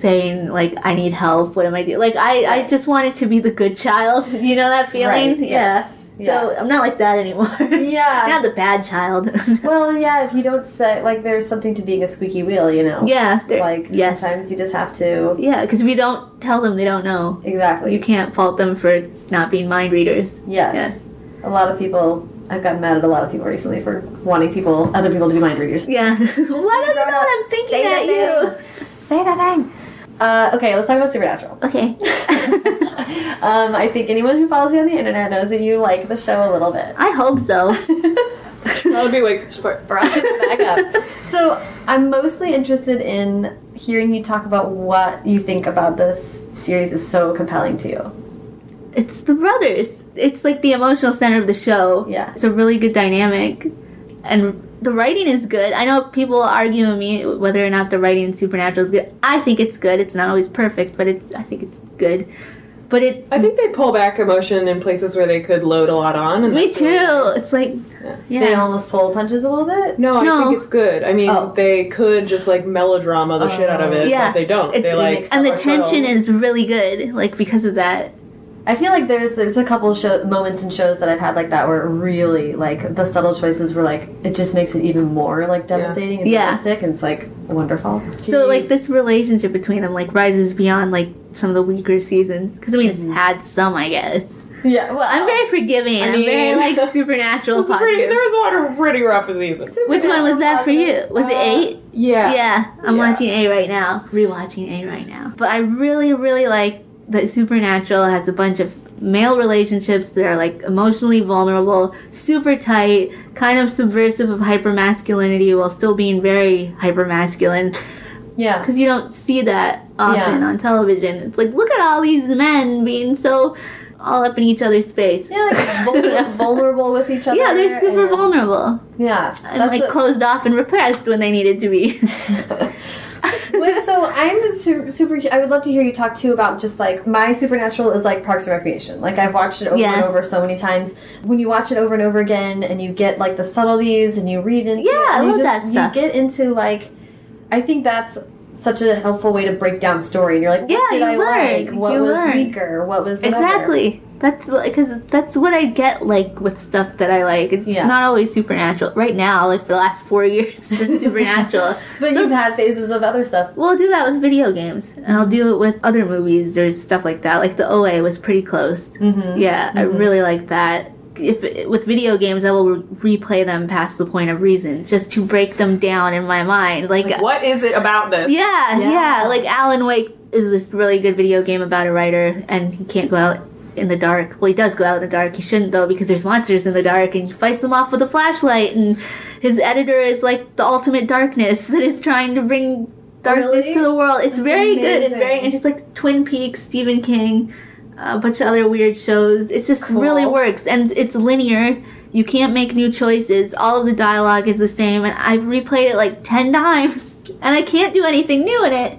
saying, like, I need help. What am I doing? Like, I, I just wanted to be the good child. You know that feeling? Right, Yeah. yes. So I'm not like that anymore. Yeah. not the bad child. well yeah if you don't say like there's something to being a squeaky wheel you know yeah. there- like yes. sometimes you just have to Yeah, because if you don't tell them, they don't know. exactly You can't fault them for not being mind readers. yes. Yes. a lot of people i've gotten mad at a lot of people recently for wanting people other people to be mind readers Yeah. Why don't you know grown up. what I'm thinking Say at the you? say that thing uh, okay let's talk about supernatural Okay. um, i think anyone who follows you on the internet knows that you like the show a little bit I hope so. That would be wake support for back up. So I'm mostly interested in hearing you talk about what you think about this series is so compelling to you. It's the brothers. It's like the emotional center of the show. Yeah. It's a really good dynamic. And the writing is good. I know people argue with me whether or not the writing in Supernatural is good. I think it's good. It's not always perfect, but it's I think it's good. But it I think they pull back emotion in places where they could load a lot on. And me that's too. really nice. It's like yeah. They almost pull punches a little bit. No, I No. think it's good. I mean, Oh. they could just like melodrama the shit out of it, Yeah. but they don't. It's- they it like and the Our tension shows. is really good, like because of that. I feel like there's there's a couple show, moments in shows that I've had like that where really like the subtle choices were like it just makes it even more like devastating and Yeah. realistic and it's like wonderful. So like this relationship between them like rises beyond like some of the weaker seasons. Because I mean, it's had some, I guess. Yeah, well I'm very forgiving. I am very mean- like supernatural It's pretty, positive. there was one pretty rough a season. Which one was that for you? Was it eight? Yeah. Yeah, I'm Yeah. watching A right now. Rewatching A right now. But I really, really like that Supernatural has a bunch of male relationships that are like emotionally vulnerable, super tight, kind of subversive of hypermasculinity while still being very hypermasculine. yeah. Because you don't see that often Yeah. on television. It's like, look at all these men being so all up in each other's face. Yeah, like vulnerable, vulnerable with each other. Yeah, they're super and- vulnerable Yeah, and that's like a- closed off and repressed when they needed to be. Wait, so I'm super, super. I would love to hear you talk too about just like my supernatural is like Parks and Recreation. Like I've watched it over Yeah. and over so many times. When you watch it over and over again, and you get like the subtleties, and you read into Yeah, it, I and you love that you stuff. get into like. I think that's such a helpful way to break down story. And you're like, what Yeah, did you I learn. like? What You was learn. weaker? What was whatever. Exactly. That's because that's what I get like with stuff that I like. It's Yeah. not always supernatural. Right now, like for the last four years, it's been supernatural. But you've had phases of other stuff. Well, I'll do that with video games, and I'll do it with other movies or stuff like that. Like the OA was pretty close. Mm-hmm. Yeah, I really like that. If with video games, I will re- replay them past the point of reason, just to break them down in my mind. Like, What is it about this? yeah, Yeah. yeah, Like Alan Wake is this really good video game about a writer, and he can't go out in the dark. Well, he does go out in the dark. He shouldn't though, because there's monsters in the dark, and he fights them off with a flashlight. And his editor is like the ultimate darkness that is trying to bring darkness Oh, Really? to the world. It's very good. It's very amazing. and just like Twin Peaks, Stephen King, a bunch of other weird shows. It just Cool. really works, and it's linear. You can't make new choices. All of the dialogue is the same, and I've replayed it like ten times, and I can't do anything new in it.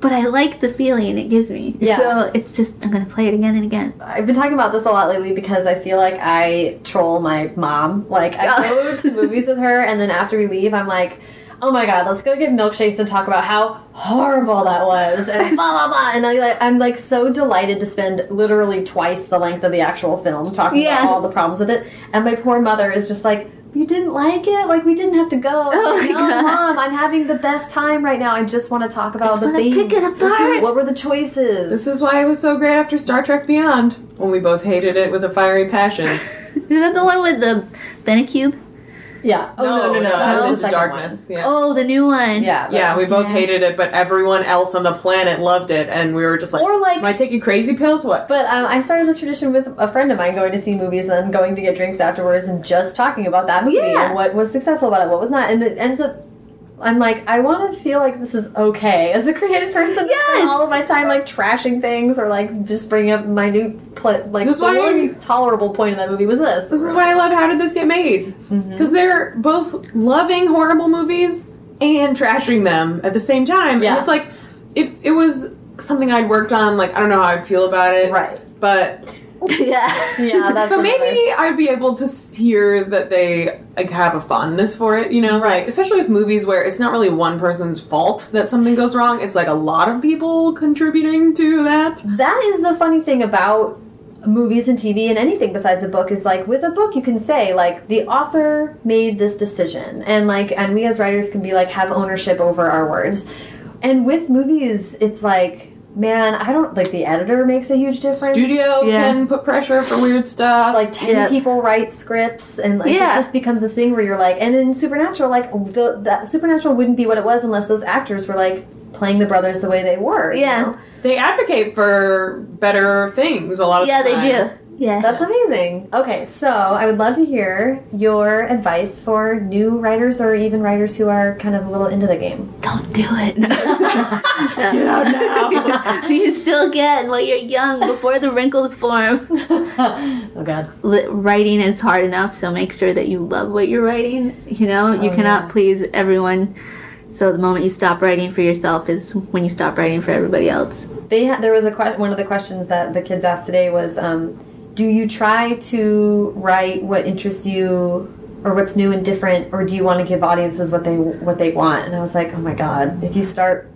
But I like the feeling it gives me. Yeah. So it's just I'm gonna play it again and again. I've been talking about this a lot lately because I feel like I troll my mom. Like I Yeah. go to movies with her, and then after we leave, I'm like, "Oh my god, let's go get milkshakes and talk about how horrible that was," and blah blah blah. And I, like, I'm like so delighted to spend literally twice the length of the actual film talking Yeah. about all the problems with it. And my poor mother is just like. You didn't like it? Like we didn't have to go. Oh my no, God. mom, I'm having the best time right now. I just want to talk about all the wanna things. pick it apart. What were the choices? This is why it was so great after Star Trek Beyond, when we both hated it with a fiery passion. Is that the one with the Benacube? yeah. Oh no, no, no. that was the Into second one. Darkness. Yeah. Oh, the new one. Yeah. Yeah, we that's- both Yeah. hated it, but everyone else on the planet loved it, and we were just like, Or like- "Am I taking crazy pills? What?" But um, I started the tradition with a friend of mine going to see movies and then going to get drinks afterwards and just talking about that movie Yeah. and what was successful about it, what was not, and it ends up. I'm like, I want to feel like this is okay as a creative person. to spend Yes. all of my time like trashing things or like just bringing up my new pl- like That's the why- one tolerable point of that movie was this. This is why I love How Did This Get Made? Mm-hmm. Because they're both loving horrible movies and trashing them at the same time. Yeah. And it's like, if it was something I'd worked on, like, I don't know how I'd feel about it. right. But, yeah. Yeah, that's but another- maybe I'd be able to s- hear that they like have a fondness for it, you know? Like, especially with movies where it's not really one person's fault that something goes wrong, it's like a lot of people contributing to that. That is the funny thing about movies and TV and anything besides a book is like with a book you can say like the author made this decision and like and we as writers can be like have ownership over our words. And with movies it's like man, I don't like the editor makes a huge difference. Studio Yeah. can put pressure for weird stuff. like 10 Yeah. people write scripts and like Yeah. it just becomes this thing where you're like and in supernatural like the that supernatural wouldn't be what it was unless those actors were like playing the brothers the way they were you Yeah. know? They advocate for better things a lot of Yeah, the they time. do. Yeah. That's amazing. Okay, so I would love to hear your advice for new writers or even writers who are kind of a little into the game. Don't do it. you still get while you're young before the wrinkles form. oh god. Li- Writing is hard enough, so make sure that you love what you're writing. You know, you Oh, cannot yeah. please everyone. So the moment you stop writing for yourself is when you stop writing for everybody else. They ha- there was a que- one of the questions that the kids asked today was, um, do you try to write what interests you or what's new and different, or do you want to give audiences what they what they want? And I was like, oh my god, if you start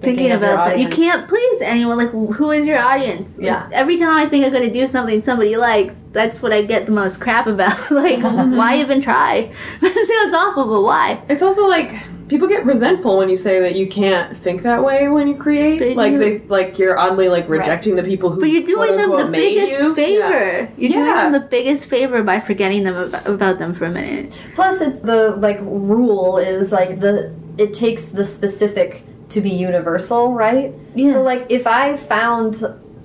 Thinking of your about that, you audience- can't please anyone. Like, who is your audience? Like, Yeah. every time I think I'm going to do something somebody likes, that's what I get the most crap about. like, why even try? That sounds awful, but why? It's also like people get resentful when you say that you can't think that way when you create. They like do. they like you're oddly like rejecting the people who But you're doing them the quote-unquote, made biggest you. favor. Yeah. You're Yeah. doing them the biggest favor by forgetting them ab- about them for a minute. Plus, it's the like rule is like the it takes the specific to be universal, right? Yeah. So like if I found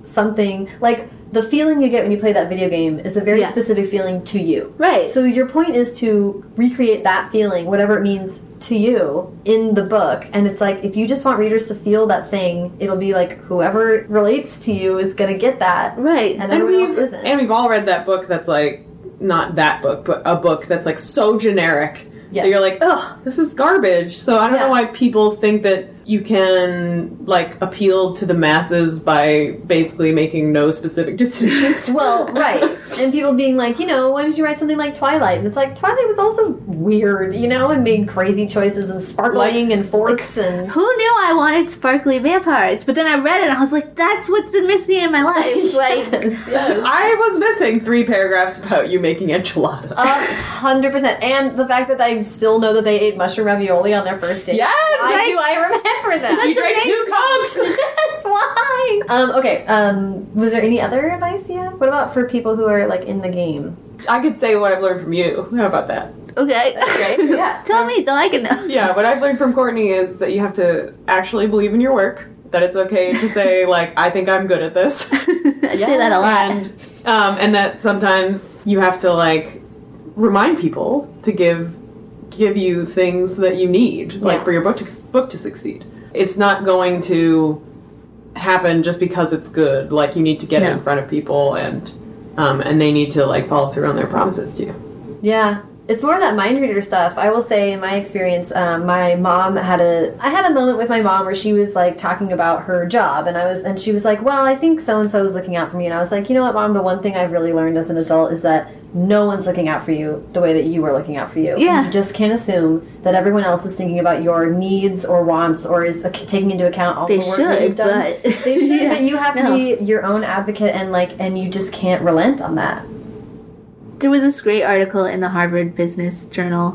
something like the feeling you get when you play that video game is a very Yeah. specific feeling to you. Right. So your point is to recreate that feeling, whatever it means to you, in the book. And it's like if you just want readers to feel that thing, it'll be like whoever relates to you is gonna get that. right. And And everyone else we've isn't. and we've all read that book that's like not that book, but a book that's like so generic Yes. that you're like, ugh, this is garbage. So I don't Yeah. know why people think that you can like appeal to the masses by basically making no specific decisions. Well, right. and people being like, you know, why did you write something like Twilight? And it's like Twilight was also weird, you know, and made crazy choices and sparkling and forks and Who knew I wanted sparkly vampires? But then I read it and I was like, that's what's been missing in my life. Like, I was missing three paragraphs about you making enchiladas. Oh, Uh, hundred percent. And the fact that I still know that they ate mushroom ravioli on their first date. yes, Why do I remember that? she drank two cokes. That's why. Um, okay. Um, was there any other advice you have? What about for people who are like in the game? I could say what I've learned from you. How about that? okay. Yeah. Tell me so I can know. Yeah, what I've learned from Courtney is that you have to actually believe in your work. That it's okay to say like, I think I'm good at this. I say that a lot. and um, and that sometimes you have to like remind people to give give you things that you need like Yeah. for your book to book to succeed it's not going to happen just because it's good like you need to get it No. in front of people and um, and they need to like follow through on their promises to you Yeah. It's more that mind reader stuff. I will say, in my experience, um, my mom had a. I had a moment with my mom where she was like talking about her job, and I was, and she was like, "Well, I think so and so is looking out for me," and I was like, "You know what, mom? The one thing I've really learned as an adult is that no one's looking out for you the way that you were looking out for you. Yeah. you just can't assume that everyone else is thinking about your needs or wants or is uh, taking into account all They the work that you've should, done. but. They should, but you have to No. be your own advocate and like, and you just can't relent on that. There was this great article in the Harvard Business Journal.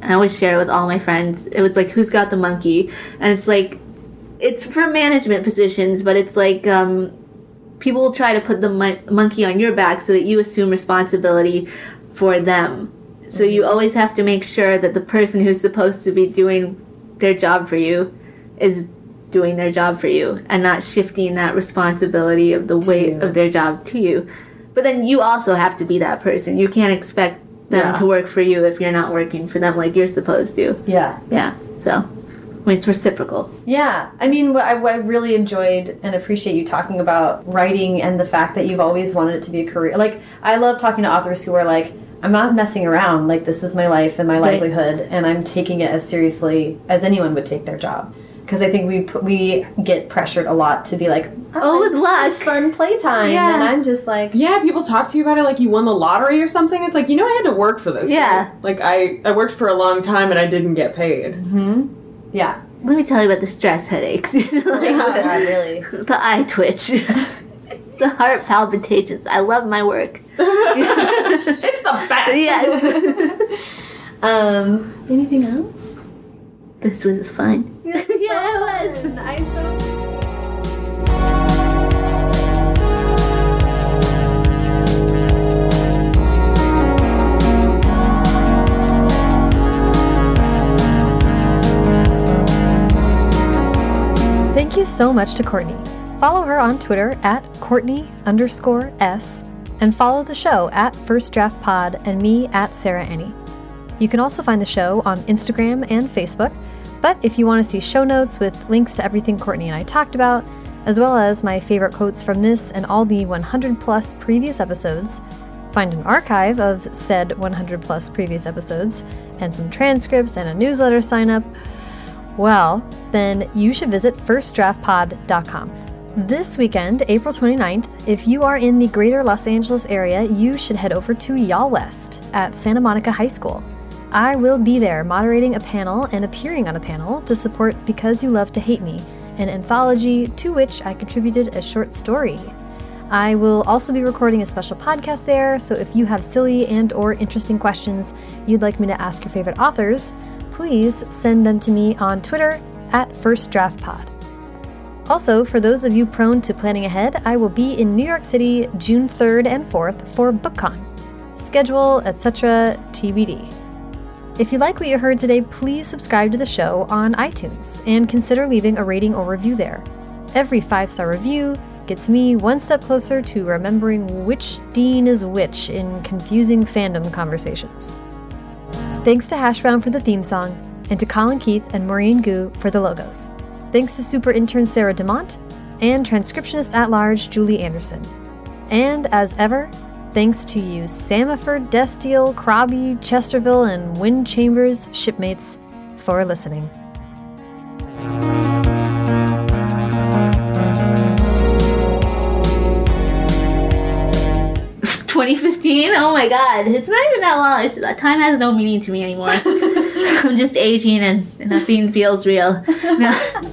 And I always share it with all my friends. It was like, "Who's got the monkey?" And it's like, it's for management positions, but it's like um, people will try to put the mon- monkey on your back so that you assume responsibility for them. So you always have to make sure that the person who's supposed to be doing their job for you is doing their job for you and not shifting that responsibility of the weight you. of their job to you. But then you also have to be that person. You can't expect them Yeah. to work for you if you're not working for them like you're supposed to. Yeah. Yeah. So, I mean, it's reciprocal. Yeah, I mean, what I, what I really enjoyed and appreciate you talking about writing and the fact that you've always wanted it to be a career. Like, I love talking to authors who are like, I'm not messing around. Like, this is my life and my Right. livelihood, and I'm taking it as seriously as anyone would take their job. Because I think we put, we get pressured a lot to be like, Oh, with luck. it's fun playtime, Yeah. and I'm just like, yeah people talk to you about it like you won the lottery or something it's like you know i had to work for this Yeah. like i i worked for a long time and i didn't get paid hmm, yeah, Let me tell you about the stress headaches. Like, yeah, really. the, the eye twitch. the heart palpitations. I love my work. it's the best yeah. Um, Anything else? This was fun. yeah, it was. Thank you so much to Courtney. Follow her on Twitter at Courtney underscore S and follow the show at First Draft Pod and me at Sarah Ennie. You can also find the show on Instagram and Facebook, but if you want to see show notes with links to everything Courtney and I talked about, as well as my favorite quotes from this and all the 100 plus previous episodes, find an archive of said 100 plus previous episodes, and some transcripts and a newsletter sign up, well, then you should visit firstdraftpod.com. This weekend, April 29th, if you are in the greater Los Angeles area, you should head over to Y'all West at Santa Monica High School. I will be there moderating a panel and appearing on a panel to support Because You Love to Hate Me, an anthology to which I contributed a short story. I will also be recording a special podcast there, so if you have silly and or interesting questions you'd like me to ask your favorite authors, please send them to me on Twitter at firstdraftpod. Also, for those of you prone to planning ahead, I will be in New York City June 3rd and 4th for BookCon. Schedule, etc., TBD. If you like what you heard today, please subscribe to the show on iTunes and consider leaving a rating or review there. Every five star review gets me one step closer to remembering which Dean is which in confusing fandom conversations. Thanks to Hashbound for the theme song, and to Colin Keith and Maureen Gu for the logos. Thanks to super intern Sarah DeMont and transcriptionist at large Julie Anderson. And as ever, thanks to you, Samiford, Destiel, Crobby, Chesterville, and Wind Chambers shipmates for listening. Twenty fifteen. 16? Oh my god. It's not even that long. It's, uh, time has no meaning to me anymore. I'm just aging and nothing feels real. No.